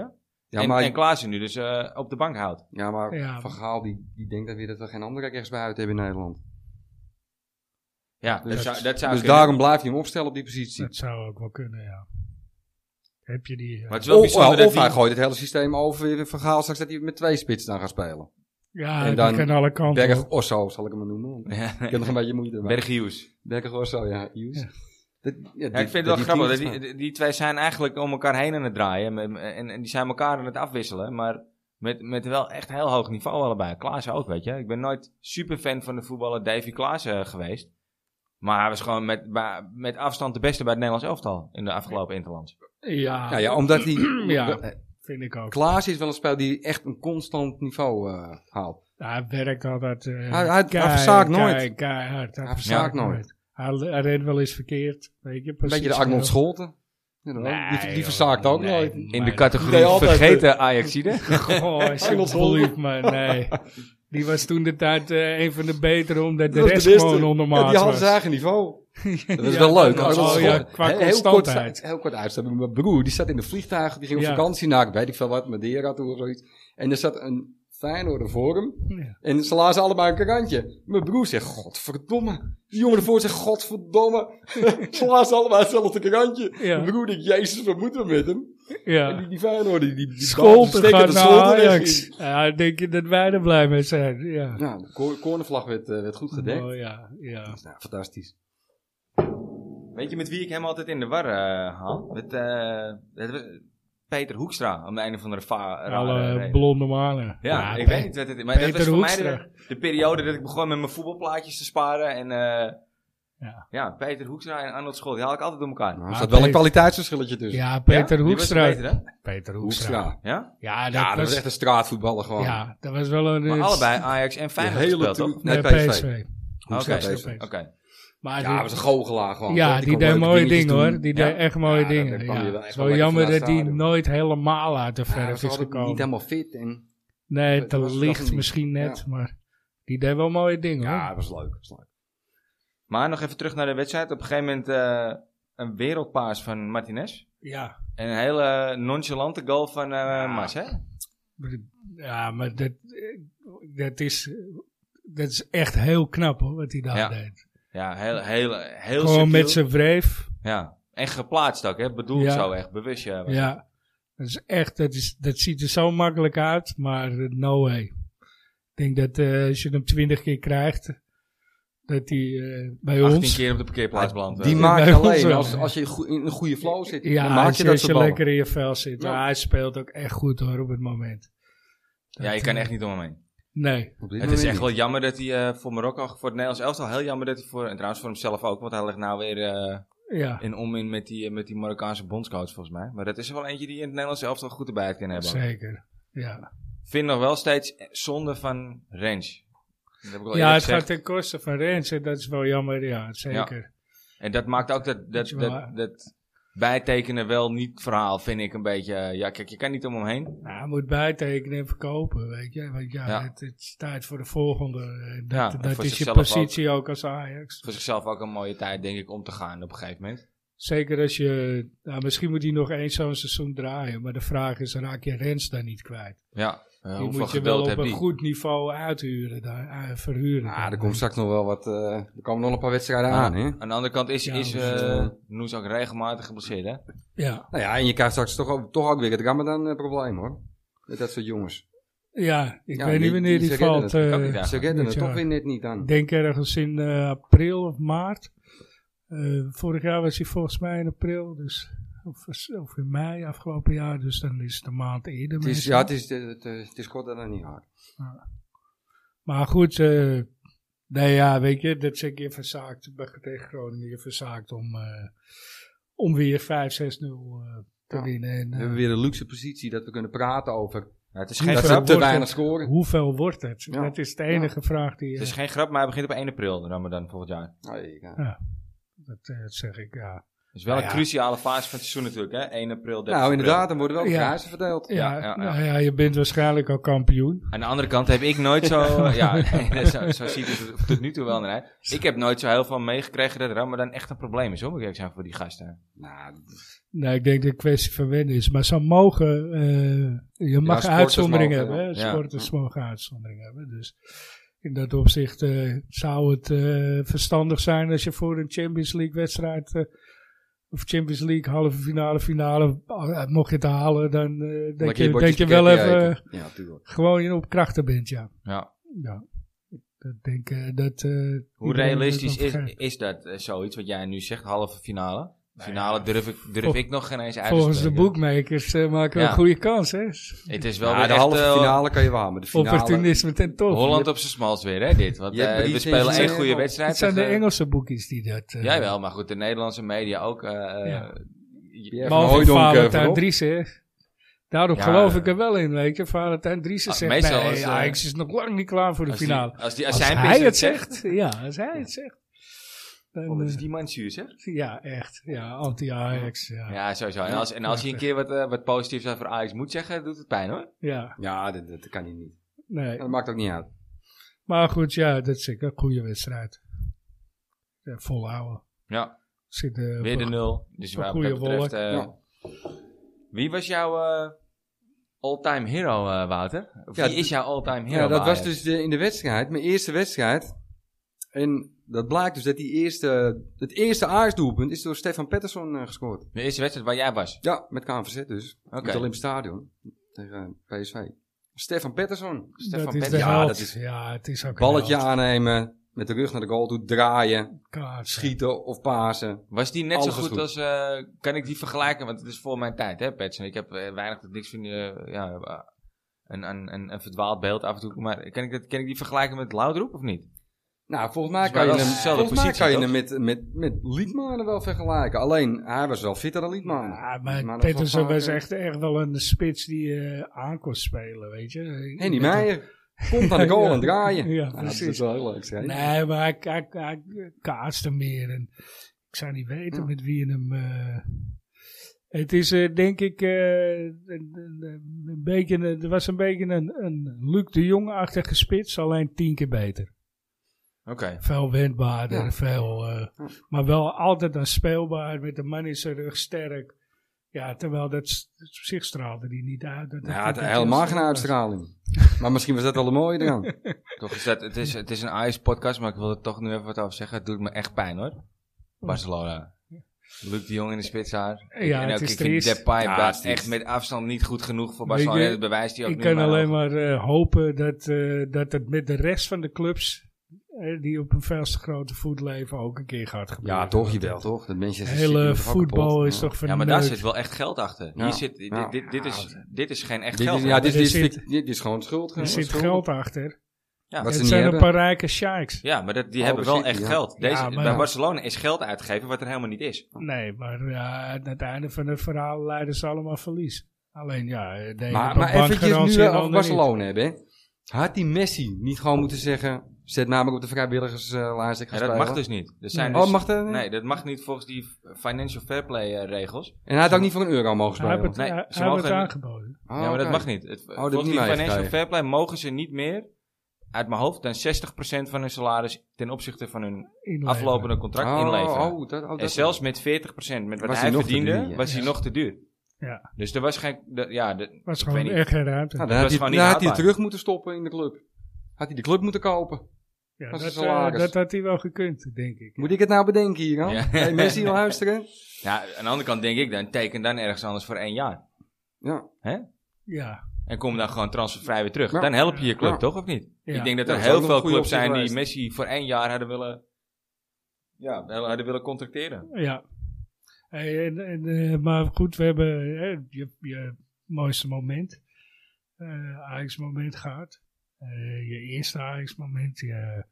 C: Ja,
A: en,
C: maar,
A: en Klaassen nu dus eh, op de bank houdt.
C: ja, maar
B: Ja.
C: Van Gaal die, die denkt dan weer dat we geen andere rechtsbuiten hebben in Nederland.
A: Ja, dat,
B: Dus-
A: zou, dat zou
C: Dus
A: kunnen.
C: daarom blijft hij hem opstellen op die positie.
B: Dat zou ook wel kunnen, ja. Heb je die... eh,
A: Maar het is wel
C: Of,
A: bijzonder
C: Oh, of
A: dat
C: hij
A: die-
C: gooit het hele systeem over weer Van Gaal straks dat hij met twee spitsen dan gaat spelen.
B: ja,
C: en
B: die
C: dan
B: kan alle kanten.
C: Berg Osso zal ik hem maar noemen. Ik heb nog een beetje moeite mee.
A: Berghius.
C: Berg Osso, ja. Hughes.
B: Ja.
C: Dat- ja,
A: Ja,
C: die-
A: ik vind het
C: dat
A: wel
C: die
A: grappig. Dat
C: team
A: die,
C: is
A: die- die twee zijn eigenlijk om elkaar heen aan het draaien. En, en, en die zijn elkaar aan het afwisselen. Maar met, met wel echt heel hoog niveau allebei. Klaassen ook, weet je. Ik ben nooit super fan van de voetballer Davy Klaassen geweest. Maar hij was gewoon met, bij- met afstand de beste bij het Nederlands elftal. In de afgelopen Interlands.
B: Ja,
C: maar- Ja, ja, omdat die...
B: Ja.
C: Eh,
B: vind ik ook.
C: Klaas is wel een speler die echt een constant niveau eh, haalt.
B: Ja, Hij werkt altijd... eh,
C: hij- hij
B: kei-
C: verzaakt nooit.
B: kei- keihard.
C: Hij verzaakt nooit.
B: Hij, hij redt wel eens verkeerd. Weet je,
C: Een beetje de Arnold Scholten. Ja, dan-
B: Nee,
C: die die
B: joh,
C: verzaakt ook
B: nee.
C: nooit.
A: In de
B: Maar-
C: Nee,
A: categorie
C: altijd de-
A: vergeten Ajaxide.
B: Goh, alsjeblieft, man. Nee. Die was toen de tijd eh, een van de betere, omdat de
C: Dat is
B: rest
C: beste.
B: gewoon
C: Ja,
B: ondermaat
C: die had
B: was.
C: zijn eigen niveau. Dat is
B: Ja,
C: wel leuk.
B: dat was-
C: Arnold
B: oh
C: School-
B: ja, qua
C: heel, heel kort,
B: constantheid.
C: heel kort uitstappen. Mijn broer die zat in de vliegtuig. Die ging op
B: Ja.
C: vakantie naar, weet ik veel wat, Madeira toe of zoiets. En er zat een Feyenoorder voor hem.
B: Ja.
C: En ze lazen allemaal een krantje. Mijn broer zegt, godverdomme. Die jongen ervoor zegt, godverdomme. ze lazen allemaal hetzelfde krantje.
B: Ja.
C: Mijn broer denkt, jezus, wat moeten we met hem? En
B: Ja.
C: die, die Feyenoorder, die, die
B: Scholten
C: steken
B: gaat
C: de
B: naar
C: Scholten weg
B: Ajax.
C: in.
B: Ja, ik denk je dat wij er blij mee zijn. Ja.
C: Ja, de cor- cornervlag werd, eh, werd goed gedekt.
B: Oh, ja, ja.
C: Nou, fantastisch.
A: Weet je met wie ik hem altijd in de war eh, haal? Met eh, dat- Peter Hoekstra. Aan het einde van de va- rare
B: Alle
A: reden.
B: blonde manen.
A: Ja, ik
B: Pe-
A: weet niet wat het is. Maar dat
B: Peter
A: was voor mij
B: Hoekstra.
A: de, de periode dat ik begon met mijn voetbalplaatjes te sparen. En eh,
B: Ja.
A: ja. Peter Hoekstra en Arnold School, die haal ik altijd door elkaar.
C: Nou, er
B: Ah,
C: zat wel een
B: Peter.
C: kwaliteitsverschilletje tussen.
B: Ja,
A: Ja?
B: Peter
A: Wie was er
B: Hoekstra.
A: beter, hè?
B: Peter Hoekstra.
C: Hoekstra.
A: Ja?
B: Ja, dat,
C: Ja, dat
B: was,
C: was echt een straatvoetballer gewoon.
B: Ja, dat was wel een...
A: Maar
B: eh,
A: allebei Ajax en Feyenoord
C: hele
A: gespeeld,
C: toe-
A: toch?
C: Nee,
B: Nee,
C: PSV.
B: PSV.
A: Oké,
C: Hoekstra, PSV.
A: oké.
B: Maar
C: Ja, hij
B: die-
C: was een goochelaar gewoon.
B: ja,
C: toch?
B: die,
C: kon
B: deed
C: leuke
B: mooie
C: dingetjes
B: dingen
C: doen.
B: hoor. Die
A: Ja.
B: deed echt mooie
C: Ja, dat
B: dingen.
C: kwam
B: Ja.
C: je wel
B: Het
C: echt
B: is
C: wel
B: wel
C: lekker
B: jammer
C: vanuit
B: dat die
C: stadion.
B: nooit helemaal uit de
C: Ja, hij
B: verf
C: was
B: is
C: altijd
B: gekomen.
C: niet helemaal fit. En,
B: Nee,
C: Dat
B: te
C: was toch
B: licht
C: niet.
B: misschien net,
C: Ja.
B: maar die deed wel mooie dingen
C: ja,
B: hoor.
C: dat was leuk. was leuk.
A: Maar nog even terug naar de wedstrijd. Op een gegeven moment eh, een wereldpaas van Martinez.
B: Ja,
A: En een hele nonchalante goal van eh Mas, hè?
B: maar- ja maar dat, eh, dat, is, dat is echt heel knap hoor, wat hij daar
A: Ja.
B: deed.
A: Ja, heel, heel, heel
B: Gewoon
A: subtiel.
B: met zijn wreef.
A: Ja, en geplaatst ook, hè? Bedoeld
B: Ja.
A: zo echt, bewust. Ja.
B: Ja, dat is echt, dat, is, dat ziet er zo makkelijk uit, maar eh, no way. Ik denk dat eh, als je hem twintig keer krijgt, dat hij eh, bij
A: 18
B: ons...
A: keer op de parkeerplaats belandt.
C: Die
A: eh.
C: maak je
B: bij ons
C: alleen
B: wel.
C: als, als je goed- in een goede flow zit.
B: Ja,
C: dan maak
B: als
C: je
B: je,
C: dat
B: als
C: soort
B: je
C: ballen.
B: lekker in je vel zit.
C: Ja.
B: Maar hij speelt ook echt goed hoor, op het moment.
A: Ja, je
B: Dat,
A: kan
B: eh,
A: echt niet om hem heen.
B: Nee.
C: Op dit
A: Het is
C: moment
A: echt wel
C: niet.
A: jammer dat hij eh, voor Marokko, voor het Nederlands elftal, heel jammer dat hij voor, en trouwens voor hemzelf ook, want hij ligt nou weer eh,
B: Ja,
A: in onmin met die, eh, met die Marokkaanse bondscoach volgens mij. Maar dat is er wel eentje die in het Nederlands elftal goed erbij het kan hebben. Ik
B: zeker. Ja,
A: vind nog wel steeds eh, zonde van range. Dat heb ik al
B: ja
A: ja,
B: het gaat ten koste van Rens. en Dat is wel jammer, ja, zeker.
A: En dat maakt ook dat, dat,
B: Weet je wel,
A: dat, dat bijtekenen wel niet verhaal, vind ik een beetje. eh, ja, kijk, je kan niet om hem heen.
B: Nou, hij moet bijtekenen en verkopen, weet je. Want ja,
A: Ja.
B: Het, het is tijd voor de volgende. eh,
A: Ja,
B: Dat,
A: en
B: dat
A: voor
B: is je
A: zichzelf ook.
B: positie ook als Ajax.
A: Voor zichzelf ook een mooie tijd, denk ik, om te gaan op een gegeven moment.
B: Zeker als je... Nou, misschien moet hij nog eens zo'n seizoen draaien. Maar de vraag is, raak je Rens daar niet kwijt?
A: Ja,
C: Nou,
A: eh,
B: die
A: hoeveel
B: moet je wel
A: geduld
B: op
A: heb je?
B: een goed niveau uithuren, daar, eh, verhuren.
C: Ah, er komt straks nog wel wat... eh, er komen nog een paar wedstrijden aan, hè?
A: Aan de andere kant is,
B: Ja,
A: is
B: dus,
A: eh,
C: eh,
A: Noes ook regelmatig geblesseerd, hè?
B: Ja.
C: Nou ja, en je krijgt straks toch ook, toch ook weer het Ramadan-probleem, hoor. Met dat soort jongens.
B: Ja, ik
C: Ja,
B: weet
C: die-
B: niet wanneer
C: die
B: die
C: zeggen
B: valt.
C: dat,
A: kan
B: eh,
A: niet Ja,
C: Ze redden het
B: dit jaar.
C: toch weer net niet
B: ik
C: aan.
B: denk ergens in eh, april of maart. Eh, vorig jaar was hij volgens mij in april, dus, of, of in mei afgelopen jaar. Dus dan is het een maand eerder.
C: Het is,
B: meestal.
C: ja, het is, het, eh, het is kort dat het niet hard.
B: Maar goed, eh nee, ja, weet je, dat is een keer verzaakt. bij- Tegen Groningen je verzaakt om, eh, om weer 5-6-0 eh, te
C: Ja.
B: winnen. En,
C: We
B: eh,
C: hebben weer een luxe positie dat we kunnen praten over.
A: Ja, het, is
B: Niet
A: geen
C: Dat
B: Hoeveel
C: ze
A: grap,
C: te
B: wordt
C: weinig
B: het?
C: scoren.
B: hoeveel wordt het?
C: Ja.
B: Dat is de enige vraag die...
A: het
B: eh,
A: is
C: eh,
A: geen grap, maar hij begint op 1 april, de Ramadan volgend jaar.
C: Nee, ja.
B: Dat eh, zeg ik, ja.
A: is wel
B: Nou
A: een
B: ja.
A: cruciale fase van het seizoen natuurlijk, hè? 1 april, 30
C: Nou,
A: april.
C: inderdaad, dan worden wel de
B: Ja.
C: kaarsen verdeeld.
B: Ja,
A: ja, ja.
B: nou ja, je bent waarschijnlijk al kampioen.
A: Aan de andere kant heb ik nooit zo... ja, nee, zo, zo ziet het er tot nu toe wel naar uit. Ik heb nooit zo heel veel meegekregen dat Ramadan echt een probleem is, hoor. Moet ik eerlijk zijn voor die gasten.
C: Nou,
B: Nee, ik denk dat het een kwestie van wennen is. Maar ze mogen, eh, je mag
C: sporters
B: uitzonderingen
C: mogen,
B: hebben. hè.
A: ja.
B: Sporters mogen uitzonderingen hebben. Dus in dat opzicht eh, zou het eh, verstandig zijn als je voor een Champions League wedstrijd... eh, of Champions League halve finale, finale, eh, mocht je het halen, dan eh, denk
C: lekker
B: je, denk
C: bordjes
B: je wel
C: spaghetti
B: even
C: eten. Ja, tuurlijk.
B: gewoon op krachten bent, ja.
A: Ja.
B: Ja. Ik denk eh, dat... eh, iedereen
A: Hoe
B: dat
A: realistisch
B: dan
A: is,
B: vergeet.
A: is dat, eh, zoiets wat jij nu zegt, halve finale?
B: ja,
A: Finale durf, ik, durf
B: vol-
A: ik nog geen eens uit te
B: Volgens de
A: spreken.
B: bookmakers eh, maken we
A: Ja.
B: een goede kans, hè?
A: Het is wel
C: Ja,
A: weer
C: Nou, de
A: echt,
C: halve
A: eh,
C: finale kan je wel, maar de finale...
B: Opportunisme ten top.
A: Holland op zijn smals weer, hè, dit. Want
C: Je hebt
A: eh,
C: drie
A: we
C: tegen
A: spelen één
C: zes.
A: goede wedstrijd.
B: Het zijn de
A: tegen- eh,
B: Engelse boekies die dat... eh,
A: Jij wel, maar goed, de Nederlandse media ook. eh,
B: Ja.
A: eh,
C: Ja,
B: Behalve
C: Hooijdonk, eh,
B: Valentijn
C: voorop.
B: Driessen. hè. Daarom
A: Ja,
B: geloof
A: eh.
B: ik er wel in, weet je. Valentijn Driessen
A: Ah,
B: zegt,
A: meestal
B: nee,
A: als, eh,
B: Ajax is nog lang niet klaar voor de
A: als die-
B: finale.
A: Als, die, als,
B: Als,
A: zijn
B: hij
A: pers
B: het zegt, ja, als hij het zegt. dan,
A: Oh, dat is
B: eh,
A: die man zuur, zeg.
B: ja, echt. Ja, anti-Ajax. Ja.
A: Ja, sowieso. En als, en als hij een keer wat, eh, wat positiefs over Ajax moet zeggen, doet het pijn hoor.
B: ja,
C: Ja, dat, dat kan hij niet.
B: nee.
C: Dat maakt ook niet uit.
B: Maar goed, ja, dat is zeker een goede wedstrijd. Ja, volhouden.
A: Ja,
B: Zit, eh, op
A: weer de
B: een-
A: nul. Dus
B: Een
A: wat dat
B: goede
A: betreft... eh,
C: Ja.
A: Wie was jouw eh, all-time hero, eh, Wouter? Of
C: Ja,
A: wie is jouw all-time hero
C: Ja, dat
A: bij
C: was
A: Ajax?
C: dus de- in de wedstrijd, mijn eerste wedstrijd. En dat blijkt dus dat die eerste, het eerste Ajax-doelpunt is door Stefan Pettersson eh, gescoord.
A: De eerste wedstrijd waar jij was.
C: Ja, met KNVZ dus.
A: Oké.
C: In het Olympisch Stadion tegen eh, PSV. Stefan Pettersson.
A: Stefan
B: dat is de
A: Pettersson.
C: Ja,
B: held.
C: dat is-
B: ja, het is ook een
C: Balletje
B: held.
C: aannemen, met de rug naar de goal toe, draaien,
B: Kaart, eh. ja.
C: schieten of pasen.
A: Was die net
C: Alles
A: zo
C: was
A: goed,
C: goed.
A: als... eh, kan ik die vergelijken? Want het is voor mijn tijd, hè, Pets. En ik heb eh, weinig tot niks van... eh, ja, eh, een, een, een, een verdwaald beeld af en toe. Maar kan ik, dat, kan ik die vergelijken met Loudroep of niet?
C: Nou, volgens mij
A: Dus
C: kan je
A: wel
C: hem,
A: dezelfde
C: volgens mij
A: positie,
C: kan je hem met, met, met Liedmanen wel vergelijken. Alleen, hij was wel fitter dan Liedmanen.
B: Ja,
C: Liedmanen
B: maar
C: Nou, was wel eh,
B: Pettersson
C: vaker-
B: was echt, echt wel een spits die eh aan kon spelen, weet je.
C: Henny
B: Met-
C: Meijer. Komt aan de goal
B: Ja.
C: en draaien.
B: Ja,
C: Nou, dat is
B: precies.
C: wel heel leuk. zeg.
B: Nee, maar hij, hij, hij kaatste meer. En ik zou niet weten
C: Ja.
B: met wie hem... eh, het is eh, denk ik eh, een, een, een beetje, een- er was een beetje een, een Luc de Jong-achtige spits, alleen tien keer beter.
A: Oké.
B: Veel wendbaarder,
C: Ja.
B: veel, eh,
C: Ja.
B: maar wel altijd aan speelbaar, met de man in zijn rug sterk. Ja, terwijl dat, s- op zich straalde die niet uit. Dat,
C: Nou, Ja,
B: dat-
C: het
B: dat-
C: helemaal
B: dat-
C: geen uitstraling. Maar misschien was dat wel een mooie eraan.
A: Toch is dat, het, is, het is een Ajax-podcast, maar ik wil er toch nu even wat over zeggen. Het doet me echt pijn
C: Oh.
A: hoor. Barcelona. Luc de Jong in de spitshaar.
B: Ja,
A: en
B: het
A: ook
B: is
A: ik vind
B: triest.
A: Depay
C: Ja,
A: daar
C: het is triest.
A: echt met afstand niet goed genoeg voor
B: Weet
A: Barcelona.
B: je,
A: dat bewijst hij ook
B: Ik
A: nu
B: kan
A: maar
B: alleen
A: ook.
B: maar eh, hopen dat, eh, dat het met de rest van de clubs, eh, die op een veel te grote voet leven, ook een keer gaat gebeuren.
C: Ja, toch, je wel,
B: Dat
C: toch? Dat mensen
B: Het hele voetbal is toch
A: Ja,
B: verneukt.
A: maar daar zit wel echt geld achter.
C: Ja.
A: Hier zit, dit,
C: Ja.
A: dit, dit is, dit is geen echt
C: Dit
A: geld.
C: is, ja, dit,
B: Er
C: is, dit,
B: zit-
C: is, dit is gewoon schuld.
B: Er zit
C: schulden.
B: geld achter.
A: Ja.
C: Wat ze
B: Het
C: niet
B: zijn
C: hebben.
B: een paar rijke sheiks.
A: Ja, maar dat, die
C: Oh,
A: hebben wel
C: precies,
A: echt
C: ja.
A: geld.
B: Ja,
A: Deze,
B: maar-
A: bij Barcelona is geld uitgeven wat er helemaal niet is.
B: Nee, maar ja, aan het einde van het verhaal leiden ze allemaal verlies. Alleen ja, eh, de ene
C: Maar,
B: op een
C: maar eventjes
B: bankgarantie
C: nu eh,
B: en
C: we
B: de
C: over
B: ander niet.
C: Barcelona hebben. hè. Had die Messi niet gewoon moeten zeggen... Zet namelijk op de vrijwilligerslijst. ik ga
A: En dat
C: spelen?
A: mag dus niet. Er zijn
B: Nee.
A: dus-
C: Oh, mag dat?
A: Nee, dat mag niet volgens die financial fair play eh, regels.
C: En hij had ook niet voor een euro mogen
B: Hij
C: spelen.
B: heeft het,
A: Nee,
B: hij-
A: ze
B: hij heeft
A: mogen-
B: het aangeboden.
C: Oh,
A: ja, maar dat
C: oké.
A: mag niet. Het, volgens
C: niet
A: die
C: meegekregen.
A: financial fair play mogen ze niet meer, uit mijn hoofd, dan 60% van hun salaris ten opzichte van hun
B: Inleveren.
A: aflopende contract
C: Oh,
A: inleveren.
C: oh, dat, oh,
A: en
C: dat-
A: zelfs met 40%, met wat
C: Was
A: hij
C: hij nog te
A: verdiende,
C: duur, ja.
A: was hij
B: Ja.
A: nog te duur.
B: Ja.
A: Dus er was geen... de- ja, de,
B: Was
A: ik
B: gewoon
A: weet niet.
B: echt geen ruimte.
C: Nou,
A: dat
C: dan had
A: is
C: hij,
A: gewoon
C: dan
A: niet
C: had hij
A: houdbaar.
C: terug moeten stoppen in de club. Had hij de club moeten kopen.
B: Ja,
C: was
B: dat,
C: een salaris.
B: eh, dat had hij wel gekund, denk ik.
C: Moet ik het nou bedenken hier, hè?
A: Ja.
C: Hey, Messi, luisteren.
A: Ja, aan de andere kant denk ik dan, teken dan ergens anders voor één jaar.
C: Ja.
B: Ja.
A: En kom dan gewoon transfervrij weer terug.
C: Ja.
A: Dan help je je club,
C: Ja.
A: toch? Of niet?
B: Ja.
A: Ik denk dat
C: Ja,
A: er
C: dat is
A: heel
C: ook nog
A: veel
C: een goede
A: clubs zijn
C: optie
A: die Messi voor één jaar hadden willen... Ja, hadden willen contracteren.
B: Ja. Hey, en, en, eh, maar goed, we hebben eh, je, je mooiste moment, eh Ajax-moment gehad. Eh, je eerste Ajax-moment, je,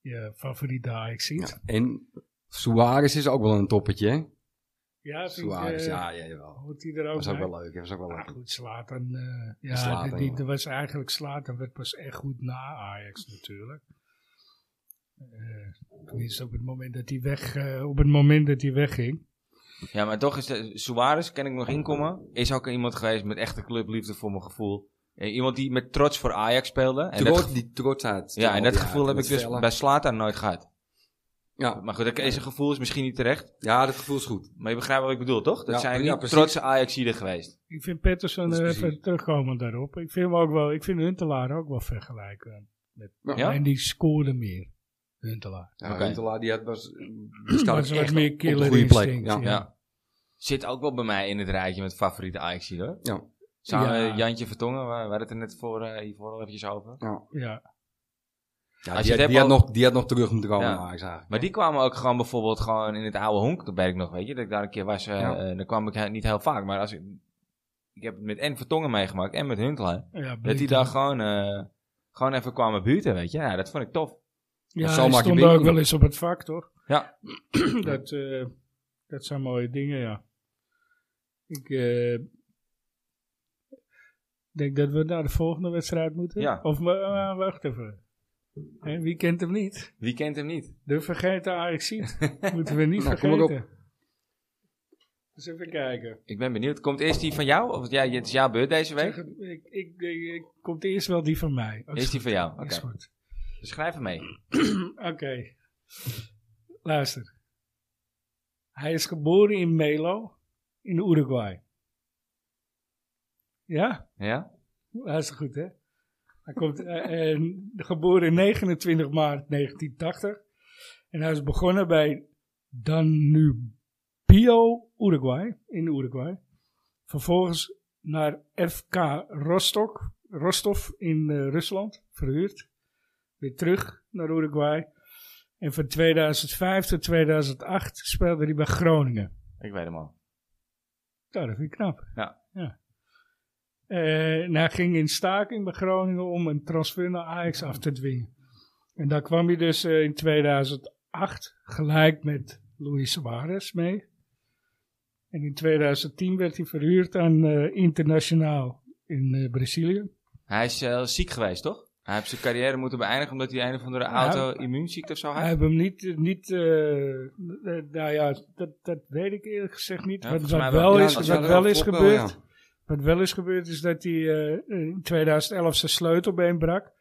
B: je favoriete Ajax-ziet.
C: En Suarez is ook wel een toppetje, hè?
B: Ja, vind ik,
C: Suarez,
B: eh,
C: ja, ja, jawel.
B: hoort hij er ook
C: Dat was ook
B: bij?
C: wel leuk, hè, was ook wel
B: Maar
C: leuk.
B: goed, Slatan, ja,
C: Zlatan,
B: die- die,
C: jongen.
B: dat was eigenlijk Slatan werd pas echt goed na Ajax natuurlijk. Eh tenminste, op het moment dat hij weg, eh, op het moment dat hij wegging.
A: Ja, maar toch is de, Suarez, kan ik nog inkomen, is ook iemand geweest met echte clubliefde voor mijn gevoel. Eh, Iemand die met trots voor Ajax speelde. En dat
C: Trot,
A: gevo-
C: die trotsheid.
A: ja, en dat gevoel heb
C: met
A: ik dus
C: Vella.
A: bij Slater nooit gehad.
C: Ja.
A: Maar goed, dat is een gevoel, is misschien niet terecht.
C: ja, dat gevoel is goed.
A: Maar je begrijpt wat ik bedoel, toch? Dat
C: Ja,
A: zijn
C: ja,
A: niet
C: precies.
A: trotse Ajaxiden geweest.
B: Ik vind Pettersson
C: Dat is
B: eh,
C: precies.
B: even terugkomen daarop. Ik vind hem ook wel, ik vind Huntelaar ook wel vergelijkbaar.
A: Ja?
B: En die scoorde meer. Huntelaar.
C: Ja,
A: Oké.
C: Huntelaar, die had was,
B: Dat
C: staat
B: is wat
C: echt
B: meer
C: op de
B: killer
C: goede plek.
B: instinct.
C: Ja.
A: Ja. Zit ook wel bij mij in het rijtje met favoriete Ajaxiden, hoor.
C: Ja.
A: Samen
B: Ja.
A: met Jantje Vertongen, we we hadden het er net voor, eh, hiervoor al eventjes over.
B: ja.
C: Ja,
A: Als je
C: die, had,
A: het
C: die,
A: hebt
C: had nog, die had nog terug moeten komen
A: Ja.
C: naar Ajax eigenlijk.
A: Maar die kwamen ook gewoon bijvoorbeeld gewoon in het oude honk, dat weet ik nog, weet je. Dat ik daar een keer was, eh,
C: Ja.
A: eh, dan kwam ik he- niet heel vaak. Maar als ik, ik heb het met en Vertongen meegemaakt en met Huntelaar.
B: Ja,
A: Dat die
B: Blind-
A: daar gewoon, eh, gewoon even kwamen buurten, weet je. Ja, dat vond ik tof.
B: Ja,
C: Zo
B: hij
C: maak je
B: stond
C: binnen.
B: ook wel eens op het vak, toch?
A: Ja.
B: dat, eh, dat zijn mooie dingen, ja. Ik eh, denk dat we naar de volgende wedstrijd moeten.
A: Ja.
B: Of we- eh, wacht even. Hè, wie kent hem niet?
A: Wie kent hem niet?
B: De vergeten Ajax Moeten we niet
C: Nou, kom maar op.
B: vergeten. Dus even kijken.
A: Ik ben benieuwd. Komt eerst die van jou? Of, ja, het is jouw beurt deze
B: Zeg,
A: week.
B: het, ik, ik, ik, ik- komt eerst wel die van mij. Ook
A: Eerst die
B: goed.
A: van jou.
B: Is
A: Oké.
B: goed.
A: Dus Schrijf hem mee.
B: Oké. Luister. Hij is geboren in Melo, in Uruguay. Ja?
A: Ja?
B: Luister goed, hè? Hij komt, eh, en geboren in 29 maart 1980. En hij is begonnen bij Danubio, Uruguay, in Uruguay. Vervolgens naar FK Rostock, Rostov in eh, Rusland, verhuurd. Weer terug naar Uruguay. En van 2005 tot 2008 speelde hij bij Groningen.
A: Ik weet hem al.
B: Nou, dat vind ik knap.
A: Ja.
B: ja. Eh, en hij ging in staking bij Groningen om een transfer naar Ajax af te dwingen. En daar kwam hij dus eh, in 2008 gelijk met Luis Suarez mee. En in 2010 werd hij verhuurd aan eh, Internationaal in eh, Brazilië.
A: Hij is eh, ziek geweest, toch? Hij heeft zijn carrière moeten beëindigen omdat hij een of andere auto-immuunziekte of zo
B: Hij
A: had.
B: heeft hem niet, niet eh, eh, nou ja, dat, dat weet ik eerlijk gezegd niet.
A: Ja,
B: wat
A: volgens
B: wat
A: mij wel.
B: wel
A: Ja,
B: is,
A: dat
B: wat
A: zou
C: er
B: wel
C: wel
B: is
C: op wel,
B: gebeurd,
C: ja.
B: wat wel is gebeurd is dat hij eh, in 2011 zijn sleutelbeen brak.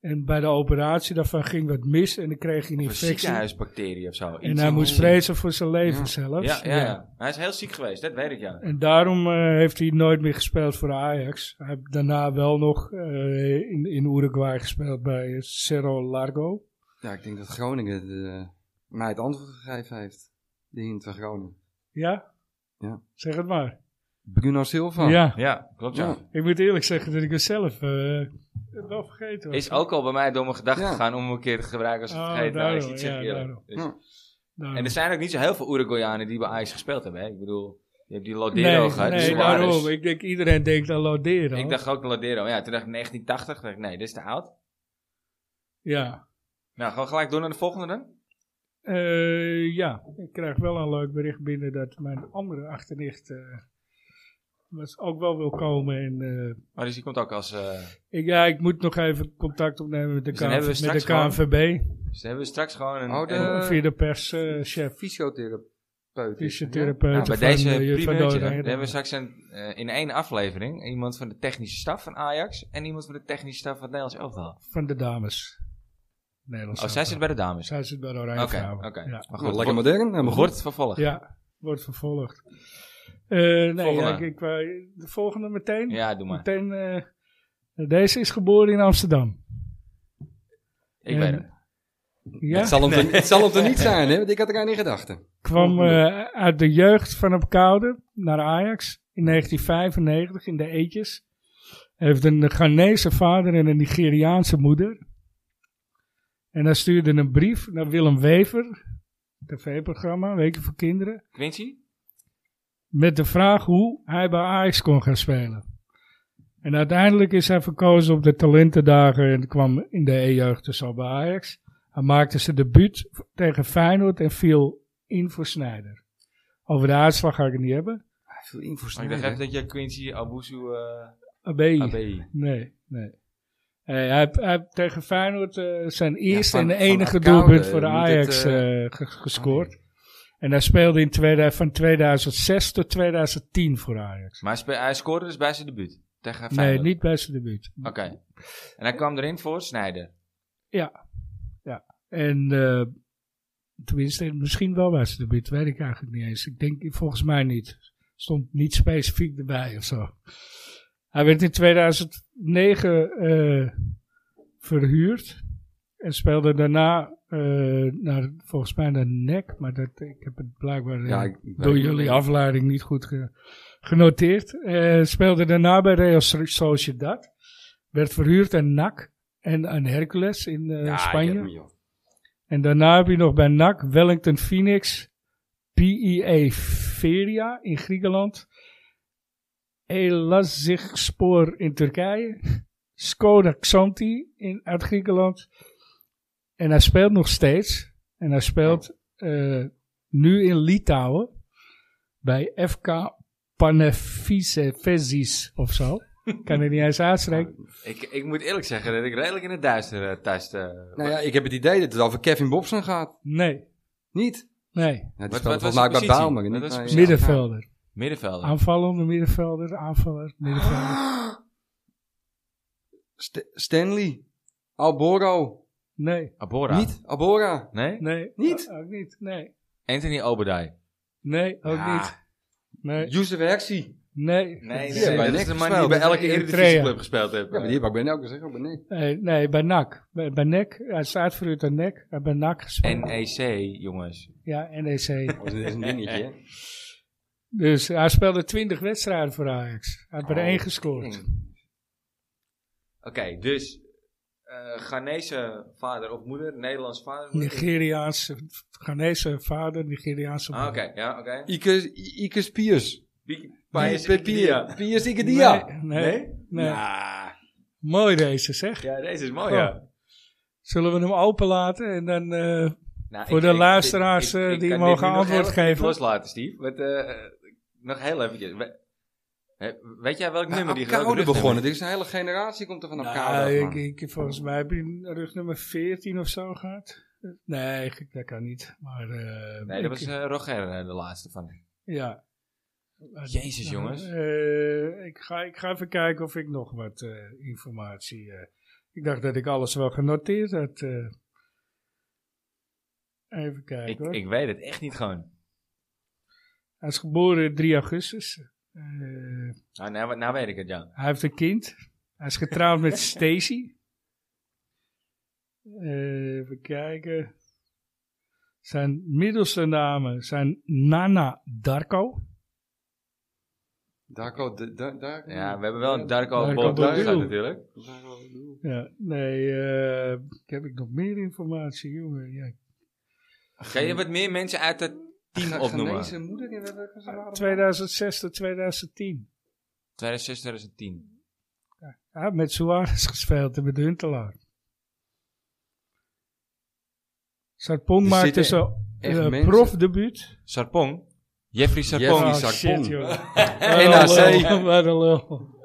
B: En bij de operatie daarvan ging wat mis en dan kreeg hij een
A: Een
B: infectie.
A: ziekenhuisbacterie of zo.
B: En
A: Iets
B: hij
A: in-
B: moest vrezen voor zijn leven
C: Ja.
B: zelfs.
A: Ja, ja, ja. Hij is heel ziek geweest, dat weet ik ja.
B: En daarom eh, heeft hij nooit meer gespeeld voor Ajax. Hij heeft daarna wel nog eh, in, in Uruguay gespeeld bij Cerro Largo.
C: Ja, ik denk dat Groningen de, mij het antwoord gegeven heeft. Die hint van Groningen.
B: Ja?
C: Ja.
B: Zeg het maar.
C: Bruno Silva.
A: Oh.
B: Ja.
A: Ja, klopt ja.
C: Ja.
B: Ik moet eerlijk zeggen dat ik het zelf eh, wel vergeten was.
A: Is ook al bij mij door mijn gedachten
C: Ja.
A: gegaan om hem een keer te gebruiken als het
B: Oh,
A: vergeten. Nou,
B: daarom,
A: is iets
B: ja,
A: zeg ik eerlijk.
B: daarom.
A: Dus-
C: Ja.
B: Daarom.
A: En er zijn ook niet zo heel veel Uruguayanen die bij Ajax gespeeld hebben. Hè? Ik bedoel, je hebt die Lodero
B: Nee,
A: gehad. die
B: nee
A: Suarez.
B: daarom. Ik denk iedereen denkt aan Lodero.
A: Ik dacht ook Lodero. Ja, toen dacht ik 1980. dacht ik, nee, dit is te oud.
B: Ja.
A: Nou, gaan we gelijk door naar de volgende dan?
B: Eh, ja, ik krijg wel een leuk bericht binnen dat mijn andere achternicht eh, was ook wel wil komen. En, eh,
A: Maar dus die komt ook als... eh,
B: ik, ja, ik moet nog even contact opnemen met de,
A: Dus dan hebben we
B: KNV, met de
A: straks
B: KNVB.
A: dus dan hebben we straks gewoon een...
C: Oh, de-
A: een-
C: Eh,
B: via de perschef,
C: Fysiotherapeut.
B: fysiotherapeut
A: Nou, bij
B: van,
A: deze
B: eh, van
A: primeurtje dan.
B: Dordrecht.
A: Dan hebben we straks een, eh, in één aflevering iemand van de technische staf van Ajax en iemand van de technische staf van het Nederlands Elftal.
B: van de dames. Nederlands
A: Oh, zij zit bij de dames.
B: Zij zit bij de Oranje
A: Oké,
B: Vrouwen.
A: oké.
B: Ja.
A: Maar
C: Nou,
A: goed,
C: lekker
A: wordt-
C: modern. Helemaal goed.
A: wordt vervolgd.
B: Ja, wordt vervolgd. Eh, nee,
A: Volgende.
B: ja, ik, ik wou- de volgende meteen.
A: Ja, doe maar.
B: meteen eh, deze is geboren in Amsterdam.
A: Ik
B: En-
A: weet het.
B: Ja,
C: Het, zal hem er, het zal hem er niet zijn, hè? Want ik had er aan in gedachten.
B: kwam eh, uit de jeugd van op Koude naar Ajax in 1995 in de Eetjes. Heeft een Ghanese vader en een Nigeriaanse moeder. En hij stuurde een brief naar Willem Wever, tv-programma, Weken voor Kinderen.
A: Quincy?
B: met de vraag hoe hij bij Ajax kon gaan spelen. En uiteindelijk is hij verkozen op de talentendagen en kwam in de E-jeugd dus al bij Ajax. Hij maakte zijn debuut tegen Feyenoord en viel in voor Sneijder. Over de uitslag ga ik het niet hebben.
C: Hij viel in voor
A: Maar ik dacht even dat je Quincy Abusu eh
B: AB.
A: ABI.
B: Nee, nee. Eh, hij, heeft- hij heeft tegen Feyenoord eh, zijn eerste
C: van-
B: en
C: van
B: enige
C: Akoude
B: doelpunt voor de
C: moet het,
B: Ajax
C: eh,
B: eh, ge- gescoord. En hij speelde in 2000 van 2006 tot 2010 voor Ajax.
A: Maar hij, spe- hij scoorde dus bij zijn debuut. Tegen
B: Nee,
A: Feyenoord.
B: niet bij zijn debuut.
A: Oké. En hij kwam erin voor Snijder.
B: Ja. ja. En eh, tenminste, misschien wel bij zijn debuut, weet ik eigenlijk niet eens. Ik denk volgens mij niet. Stond niet specifiek erbij of zo. Hij werd in 2009 eh, verhuurd. En speelde daarna eh, naar, volgens mij naar NEC. Maar dat, ik heb het blijkbaar eh,
C: Ja, ik- ik
B: door
C: weet-
B: jullie afleiding niet goed ge- genoteerd. Eh, speelde daarna bij Real So- Sociedad. Werd verhuurd aan NAC en aan Hercules in eh,
C: Ja, ik
B: Spanje.
C: heb hem, joh.
B: En daarna heb je nog bij NAC, Wellington Phoenix, PEA Feria in Griekenland, Elazigspor in Turkije, Skoda Xanti in, uit Griekenland. En hij speelt nog steeds. En hij speelt eh, nu in Litouwen bij FK Panefizis of zo. Ik kan het niet eens uitspreken.
A: Ik, ik moet eerlijk zeggen dat ik redelijk in het duister eh, thuis... eh,
C: Nou ja, ik heb het idee dat het over Kevin Bobson gaat.
B: Nee,
C: Niet?
B: nee.
C: Ja, die
A: Wat-
C: speelde
A: wat was
C: volgens mij
A: zijn
C: bij
A: positie?
C: Bijlmer.
A: Wat
C: niet?
A: was zijn
C: Nee, ja.
A: positie?
B: Middenvelder.
A: middenvelder.
B: Aanvallende middenvelder, aanvaller, middenvelder.
C: St- Stanley. Alboro.
B: Nee,
A: Abora.
C: Niet? Albora.
A: Nee?
B: nee.
C: Niet?
B: o- Ook niet, nee.
A: Anthony Obadai.
B: Nee, ook
C: Ja.
B: niet. Nee,
C: Josef Hexi.
B: nee.
A: Nee,
C: nee,
A: dat
C: nee.
A: is de man die
C: gespeeld.
A: bij elke
B: Eritrea.
A: Eredivisieclub gespeeld heeft.
C: Ja, maar die heb ik bij elke gezegd. ook bij nee.
B: Nee, nee, bij NAC. Bij, bij NEC. Hij staat voor uit aan NEC. Hij heeft bij NAC gespeeld.
A: NEC, E jongens.
B: ja, NEC.
C: Dat is een dingetje, hè.
B: dus hij speelde 20 wedstrijden voor Ajax. Hij heeft er
A: Oh,
B: één gescoord.
A: Oké, dus... eh Ghanese vader of moeder, Nederlands vader of moeder?
B: Nigeriaanse, Ghanese vader, Nigeriaanse
A: Ah,
B: moeder.
A: oké, ja, oké.
C: Ikus, I- Ikus Pius.
A: Big
C: Pius
A: Pia.
C: Pius Ikedia.
B: Nee, nee, nee.
C: Ja.
B: Mooi deze, zeg.
A: Ja, deze is mooi,
B: Oh.
A: ja.
B: Zullen we hem openlaten en dan... eh,
A: Nou,
B: Voor de luisteraars, eh, die
A: kan dit
B: mogen
A: nu nog
B: antwoord
A: heel even
B: geven.
A: Loslaten, Steve. Want, eh, eh, nog heel eventjes. We- eh, weet jij welk nummer die welk
C: Ah, Koude
A: rugnummer?
C: begonnen. Er is een hele generatie komt er vanaf
B: Nou,
C: Koude af, man.
B: ik, ik, volgens mij heb je rug nummer 14 of zo gehad. Nee, ik- dat kan niet. Maar, eh,
A: Nee, dat was
B: ik-
A: eh, Roger eh, de laatste van.
B: Ja. Nou,
A: Jezus, jongens.
B: Eh, ik, ga, ik ga even kijken of ik nog wat eh, informatie... eh, ik dacht dat ik alles wel genoteerd had. eh. even kijken
A: Ik,
B: hoor.
A: ik weet het echt niet gewoon.
B: Hij is geboren 3 augustus. Eh,
A: Nou, nou, nou weet ik het, ja.
B: Hij heeft een kind. Hij is getrouwd met Stacy. Eh, even kijken. Zijn middelste namen zijn Nana Darko.
C: Darko, de- da- Darko.
A: Ja, we hebben wel een Darko
B: Darko
A: Bolton
C: Bolton.
A: natuurlijk.
C: Darko, bedoel.
B: Ja, nee, eh, heb ik nog meer informatie, jongen? Ja.
A: Ga je wat meer mensen uit het team
C: Ga-
A: opnoemen?
C: Ghanese moeder in welke ze waren?
B: 2006 tot 2010.
A: 2006, 2010.
B: Hij heeft met Suarez gespeeld en met Huntelaar. Sarpong
C: Er
B: maakte
C: zitten
B: zijn
C: echt
B: eh,
C: mensen.
B: profdebuut.
A: Sarpong? Jeffrey Sarpong.
C: Jeffrey
B: Oh,
C: Sarpong.
B: shit, joh.
C: NAC.
B: Wat een lul, Wat een lul.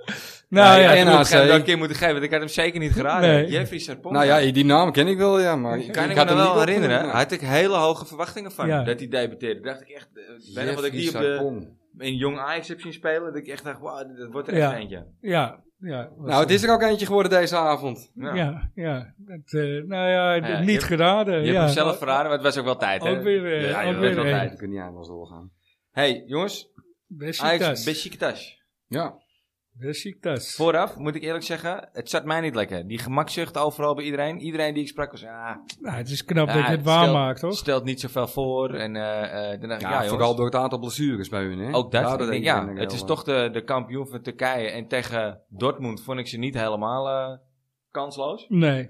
A: Nou
B: Nou
A: ja,
B: ja,
A: ik had
C: NAC.
A: hem wel een keer moeten geven, want ik had hem zeker niet geraden.
B: Nee.
A: Jeffrey Sarpong.
C: Nou ja, die naam ken ik wel, ja, maar...
A: Kan ik,
C: had
A: me nog
C: hem
A: wel
C: niet
A: herinneren,
C: opgenomen.
A: had ik hele hoge verwachtingen van
B: Ja.
A: dat hij debuteerde. Dacht ik echt, eh, bijna wat ik
C: Jeffrey
A: die op de,
C: Sarpong.
A: in Jong Ajax heb zien spelen, dat ik echt dacht, wauw, dat wordt er
B: Ja.
A: echt eentje.
B: ja, ja. was-
C: Nou, het is er ook eentje geworden deze avond.
A: Ja.
B: Ja, ja. Het, eh, nou ja,
A: ja,
B: niet
A: je hebt-
B: geraden.
A: Je
B: ja.
A: hebt hem zelf verraden, maar het was ook wel tijd, hè?
B: Ook weer, eh,
A: ja,
B: ook
A: dat
B: weer
A: was wel
B: een.
A: tijd.
C: Ik kan niet aan ons doorgaan.
A: Hey, jongens, Ajax
B: Besiktas.
A: Besiktas.
C: Ja.
B: Besiktas.
A: Vooraf moet ik eerlijk zeggen, het zat mij niet lekker. Die gemakzucht overal bij iedereen. Iedereen die ik sprak was, ah,
B: Nou, het is knap
A: ja,
B: dat je het
A: stelt-
B: waarmaakt, hoor.
A: Stelt niet zoveel voor en eh, eh, dan dacht ik, ja,
C: Ja,
A: jongens.
C: vooral door het aantal blessures bij hun, hè?
A: Ook dat.
C: Daardoor
A: ik denk,
C: denk ik
A: ja,
C: dat ik
A: het
C: wel,
A: is
C: eh,
A: toch de, de kampioen van Turkije. En tegen Dortmund vond ik ze niet helemaal eh, kansloos.
B: Nee.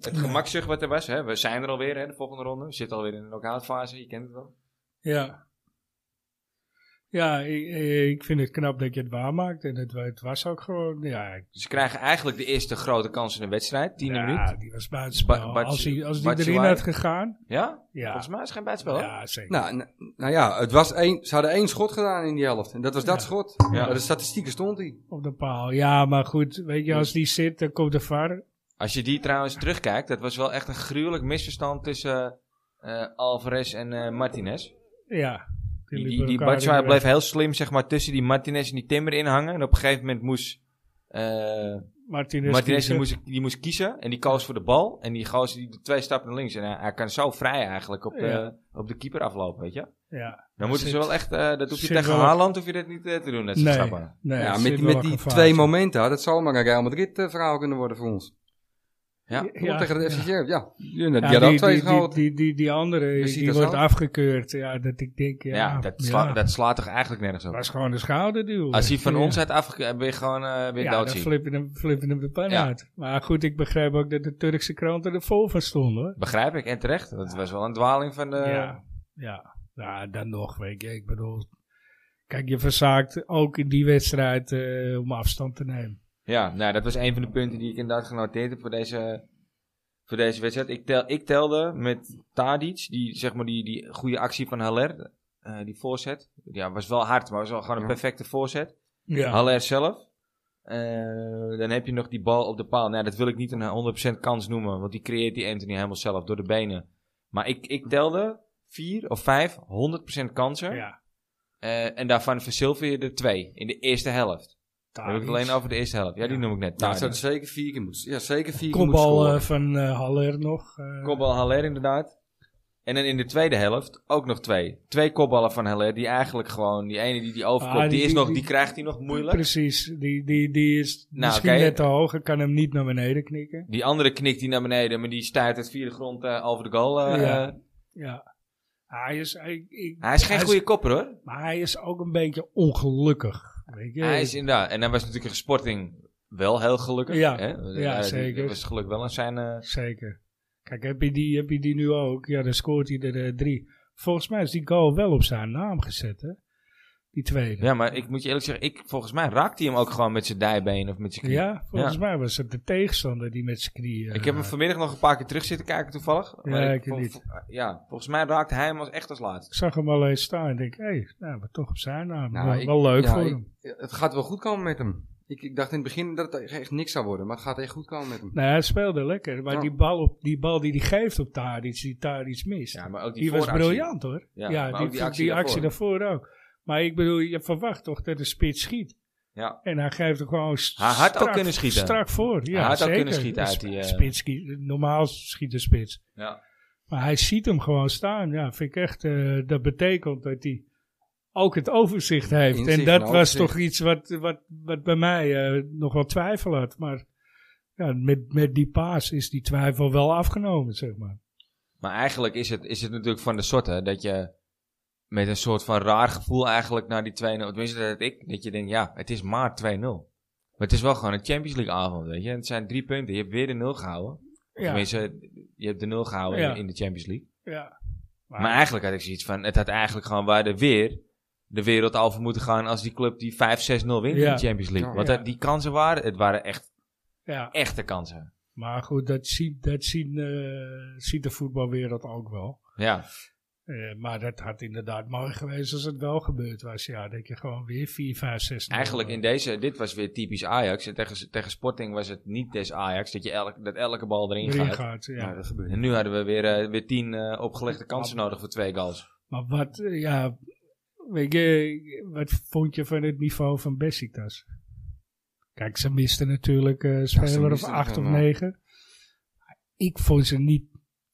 A: Het gemakzucht wat er was. Hè, we zijn er alweer, hè, de volgende ronde. We zitten alweer in de knock-outfase. Je kent het wel.
B: Ja. Ja, ik, ik vind het knap dat je het waarmaakt. En het, het was ook gewoon, ja... ik-
A: Dus ze krijgen eigenlijk de eerste grote kans in de wedstrijd. Tiende
B: Ja,
A: minuut.
B: die was buitenspel.
A: Ba- Bats-
B: als die, als die
A: Batshuayi.
B: erin had gegaan...
A: Ja?
B: Ja,
A: Volgens mij is het geen buitenspel. hè?
B: ja zeker.
C: Nou, n- nou ja, het was één, ze hadden één schot gedaan in die helft. En dat was dat
B: Ja.
C: schot.
A: Ja.
C: Bij De statistieken stond hij.
B: Op de paal. Ja, maar goed. Weet je,
A: Dus-
B: als die zit, dan komt de VAR.
A: Als je die trouwens terugkijkt, dat was wel echt een gruwelijk misverstand tussen eh, Alvarez en eh, Martinez.
B: Ja.
A: Die,
B: liepen
A: die, die
B: elkaar
A: Batshuayi
B: in de
A: bleef heel slim zeg maar, tussen die Martinez en die Timber in hangen. En op een gegeven moment moest eh,
B: weg. Martinez.
A: Martinez die
B: kiezen.
A: moest, die moest kiezen. En die koos voor de bal. En die gozer die doet twee stappen naar links. En hij, hij kan zo vrij eigenlijk op,
B: Ja.
A: eh, op de keeper aflopen, weet je.
B: Ja.
A: Dan moeten ze
B: Zit-
A: wel echt, eh, dat hoef je
B: zit
A: tegen
B: wel-
A: Haaland hoef je dat niet eh, te doen. Dat soort
B: Nee.
A: stappen.
B: nee,
C: ja,
B: het
C: met,
B: zit
C: die-
B: wel
C: met
B: een
C: die
B: gevaar
C: twee
B: in.
C: momenten, dat zou maar een Real Madrid eh, verhaal kunnen worden voor ons.
A: Ja.
C: Kom op
B: Ja,
C: tegen de FC Sheriff, ja. Die, die,
B: Ja,
C: had ook
B: die,
C: twee
B: die, die,
C: schoten.
B: die, die, die andere
C: Dus die
B: die
C: dat
B: wordt
C: wel?
B: afgekeurd. Ja, dat ik denk, ja,
A: Ja, dat, sla-
B: ja.
A: dat slaat toch eigenlijk nergens op.
B: was gewoon een schouderduw.
A: Als hij van
B: Ja.
A: ons had afgekeurd, ben je gewoon eh weer
B: ja,
A: dood
B: dan
A: zien.
B: flip je hem, flip je hem de pan
A: Ja.
B: uit. Maar goed, ik begrijp ook dat de Turkse kranten er vol van stonden. hoor.
A: Begrijp ik, en terecht. Dat was wel een dwaling van de...
B: ja, ja. ja, dan nog, weet je. Ik bedoel, kijk, je verzaakt ook in die wedstrijd eh, om afstand te nemen.
A: Ja, nou, dat was een van de punten die ik inderdaad genoteerd heb voor deze, voor deze wedstrijd. Ik, tel, ik telde met Tadic, die, zeg maar, die, die goede actie van Haller, eh, die voorzet. Ja, was wel hard, maar was wel gewoon een
C: Ja.
A: perfecte voorzet.
B: Ja,
A: Haller zelf. Eh, dan heb je nog die bal op de paal. Nou, dat wil ik niet een 100% kans noemen, want die creëert die Anthony helemaal zelf door de benen. Maar ik, ik telde vier of vijf 100% kansen.
B: ja.
A: Eh, en daarvan verzilver je er twee in de eerste helft. Dan heb ik het
B: Tadic.
A: alleen over de eerste helft. Ah, Ja, Nou, die
B: Ja.
A: noem ik net.
C: Ja,
A: Tadic.
C: zou Nou, zeker vier keer moeten, ja, zeker vier keer moeten
B: Kopbal
C: scoren.
B: eh, van eh, Haller nog. eh,
A: Kopbal Haller inderdaad. En dan in de tweede helft ook nog twee. Twee kopballen van Haller die eigenlijk gewoon... Die ene die die overkomt,
B: Ah,
A: die,
B: die-
A: is
B: die-
A: nog,
B: die-
A: die krijgt hij nog moeilijk.
B: Precies, die, die, die is
A: Nou,
B: misschien
A: oké.
B: net te hoog. Ik kan hem niet naar beneden knikken.
A: Die andere knikt hij naar beneden, maar die stuit het via de grond eh, over de goal. eh,
B: Ja.
A: eh.
B: Ja. Hij is, hij, ik-
A: hij is geen
B: hij
A: goede kopper hoor.
B: Maar hij is ook een beetje ongelukkig. Weet je?
A: Hij is inderdaad... En hij was natuurlijk een sporting wel heel gelukkig.
B: Ja.
A: hè?
B: Ja,
A: Hij-
B: zeker.
A: Dat was geluk wel aan zijn... eh,
B: Zeker. Kijk, heb je, die, heb je die nu ook? Ja, dan scoort hij er eh, drie. Volgens mij is die goal wel op zijn naam gezet, hè? Die tweede.
A: ja, maar ik moet je eerlijk zeggen, ik, volgens mij raakte hij hem ook gewoon met zijn dijbeen of met zijn knie.
B: Ja, volgens mij was het de tegenstander die met zijn knieën...
A: Ik heb hem vanmiddag nog een paar keer terug zitten kijken toevallig. Maar
B: Eh. ik
A: vol-
B: niet.
A: vol- eh, ja, volgens mij raakte hij hem als echt als laatste.
B: Ik zag hem alleen staan en denk, hé, hey, nou, maar toch op zijn naam.
C: Nou,
B: wel,
C: ik-
B: wel leuk
C: ja,
B: voor
C: ik-
B: hem.
C: Ja, Het gaat wel goed komen met hem. Ik, ik dacht in het begin dat het echt niks zou worden, maar het gaat echt goed komen met hem.
B: Nou, hij speelde lekker. Maar
C: Ja.
B: die, bal op, die bal die hij geeft op Tadic, die Tadic mist.
A: Ja, maar ook
B: Die was
A: vooractie.
B: briljant hoor.
A: Ja,
B: Ja,
A: maar ook
B: die,
A: die
B: die
A: actie
B: actie, daarvoor ook. Maar ik bedoel, je verwacht toch dat de spits schiet.
A: Ja.
B: En hij geeft er gewoon st-
A: Hij had ook
B: strak,
A: kunnen schieten.
B: strak voor. Ja,
A: Hij had ook
B: zeker.
A: kunnen schieten
B: Een
A: uit
B: sp-
A: die, eh,
B: spits schiet- normaal schiet de spits.
A: Ja.
B: Maar hij ziet hem gewoon staan. Ja, vind ik echt. eh, dat betekent dat hij ook het overzicht heeft.
C: Inzicht
B: en dat
C: en
B: was
C: overzicht.
B: toch iets wat, wat, wat bij mij eh, nog wel twijfel had. Maar ja, met, met die paas is die twijfel wel afgenomen, zeg maar.
A: Maar eigenlijk is het, is het natuurlijk van de sorte dat je met een soort van raar gevoel eigenlijk naar die 2-0. Tenminste, dat had ik. Dat je denkt, ja, het is maar 2-0. Maar het is wel gewoon een Champions League avond, weet je. En het zijn drie punten. Je hebt weer de 0 gehouden.
B: Ja,
A: Tenminste, je hebt de 0 gehouden
B: Ja.
A: in de Champions League.
B: ja.
A: Maar eigenlijk had ik zoiets van, het had eigenlijk gewoon waar de weer de wereld over moeten gaan als die club die 5-6-0 wint in de
B: Ja.
A: Champions League.
C: Oh, Ja.
A: Want
B: Ja.
A: dat- die kansen waren, het waren echt
B: ja.
A: echte kansen.
B: Maar goed, dat, ziet, dat zien, eh, ziet de voetbalwereld ook wel.
A: Ja,
B: Eh, maar dat had inderdaad mooi geweest als het wel gebeurd was. Ja, dat je gewoon weer 4, 5, 6.
A: eigenlijk in deze, dit was weer typisch Ajax. En tegen, tegen Sporting was het niet des Ajax, dat, je elk, dat elke bal erin
B: eh, erin
A: gaat.
B: gaat. Ja.
C: Ja, dat gebeurt.
A: En nu hadden we weer, eh, weer tien eh, opgelegde kansen nodig voor twee goals.
B: Maar wat, eh, ja, weet je, wat vond je van het niveau van Besiktas? Kijk, ze misten natuurlijk eh speler of
C: misten
B: acht of
C: helemaal.
B: negen. Ik vond ze niet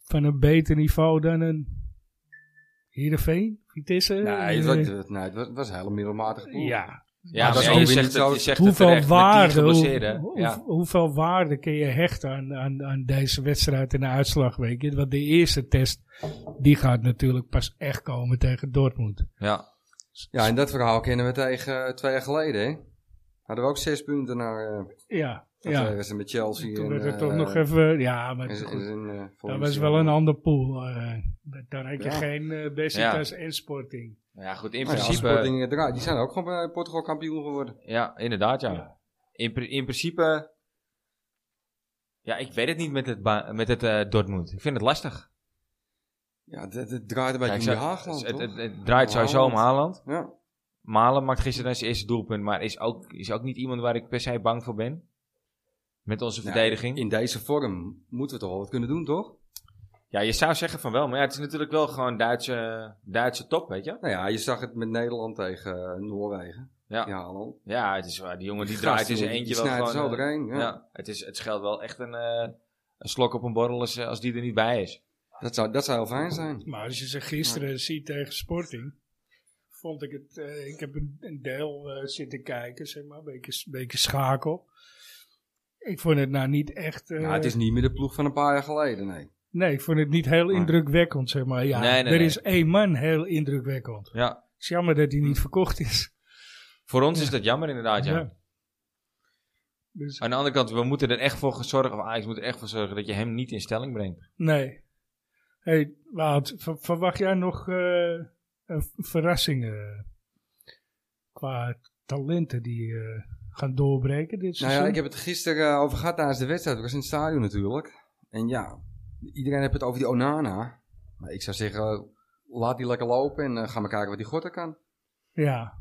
B: van een beter niveau dan een Heerenveen, Vitesse.
C: Nee, het
B: eh,
C: was, het, was- nee, het was, het was een hele middelmatige pool.
B: ja,
A: Ja,
C: dat
A: maar
C: is
A: ja,
C: ook
A: je
C: weer
A: zegt
C: niet
A: het,
C: zo-
A: je zegt het
B: hoeveel
A: terecht, met
B: waarde,
A: tien
B: hoe,
A: geblesseerden.
B: hoe-
A: ja.
B: hoeveel waarde kun je hechten aan, aan, aan deze wedstrijd en de uitslag? Weet je? Want de eerste test die gaat natuurlijk pas echt komen tegen Dortmund.
A: Ja.
C: Ja, en dat verhaal kennen we tegen eh, twee jaar geleden, hè? Hadden we ook zes punten naar eh
B: Ja,
C: dat eh,
B: ja.
C: we met Chelsea.
B: toen
C: en,
B: werd er
C: eh,
B: toch nog even. Ja, maar
C: en-
B: goed,
C: en- en, eh,
B: dat was
C: Valencia.
B: wel een ander pool. eh. Dat- daar had je
C: Ja.
B: geen eh Besiktas en Sporting.
A: ja, goed, in
C: Maar ja,
A: principe...
C: Sporting, eh, draait- die zijn ook gewoon bij Portugal kampioen geworden.
A: Ja, inderdaad, ja.
B: Ja.
A: In, pri- in principe. Ja, ik weet het niet met het, ba- met het eh, Dortmund. Ik vind het lastig.
C: Ja, het- het draait een
A: Ja, ik
C: beetje
A: zou-
C: om die Haagland,
A: het, het,
C: toch?
A: het draait sowieso om Haaland.
C: Ja.
A: Malen maakt gisteren zijn eerste doelpunt, maar is ook, is ook niet iemand waar ik per se bang voor ben. Met onze
C: Nou,
A: verdediging.
C: In deze vorm moeten we toch wel wat kunnen doen, toch?
A: Ja, je zou zeggen van wel, maar ja, het is natuurlijk wel gewoon Duitse, Duitse top, weet je?
C: Nou ja, je zag het met Nederland tegen eh, Noorwegen.
A: Ja, ja.
C: Ja, hallo.
A: het is waar. Die jongen die
C: Gast,
A: draait in zijn
C: joh,
A: eentje
C: die
A: wel
C: snijdt
A: gewoon...
C: zo
A: eh,
C: doorheen, ja.
A: ja. het, is, het scheelt wel echt een, eh, een slok op een borrel als, eh, als die er niet bij is.
C: Dat, zou, dat zou heel fijn zijn.
B: Maar als je ze gisteren ziet tegen Sporting, vond ik het. eh, ik heb een, een deel eh, zitten kijken, zeg maar, een beetje, een beetje schakel. Ik vond het nou niet echt. eh,
C: Ja, het is niet meer de ploeg van een paar jaar geleden, nee.
B: Nee, ik vond het niet heel
C: Nee.
B: indrukwekkend, zeg maar. Ja,
A: Nee, nee,
B: er
A: nee.
B: is één man heel indrukwekkend.
A: Ja,
B: Het is jammer dat hij niet verkocht is.
A: voor ons is dat jammer inderdaad, Hm. ja.
B: Ja. Dus
A: Aan de andere kant, we moeten er echt voor gaan zorgen, of Ajax moet er echt voor zorgen dat je hem niet in stelling brengt.
B: nee. hey, Wout, ver- verwacht jij nog eh, een v- verrassingen qua talenten die eh, gaan doorbreken dit
C: Nou
B: seizoen?
C: ja, ik heb het gisteren eh, over gehad tijdens de wedstrijd. Ik was in het stadion natuurlijk. En ja, iedereen heeft het over die Onana. Maar ik zou zeggen, eh, laat die lekker lopen en eh, ga maar kijken wat die gorter kan.
B: Ja,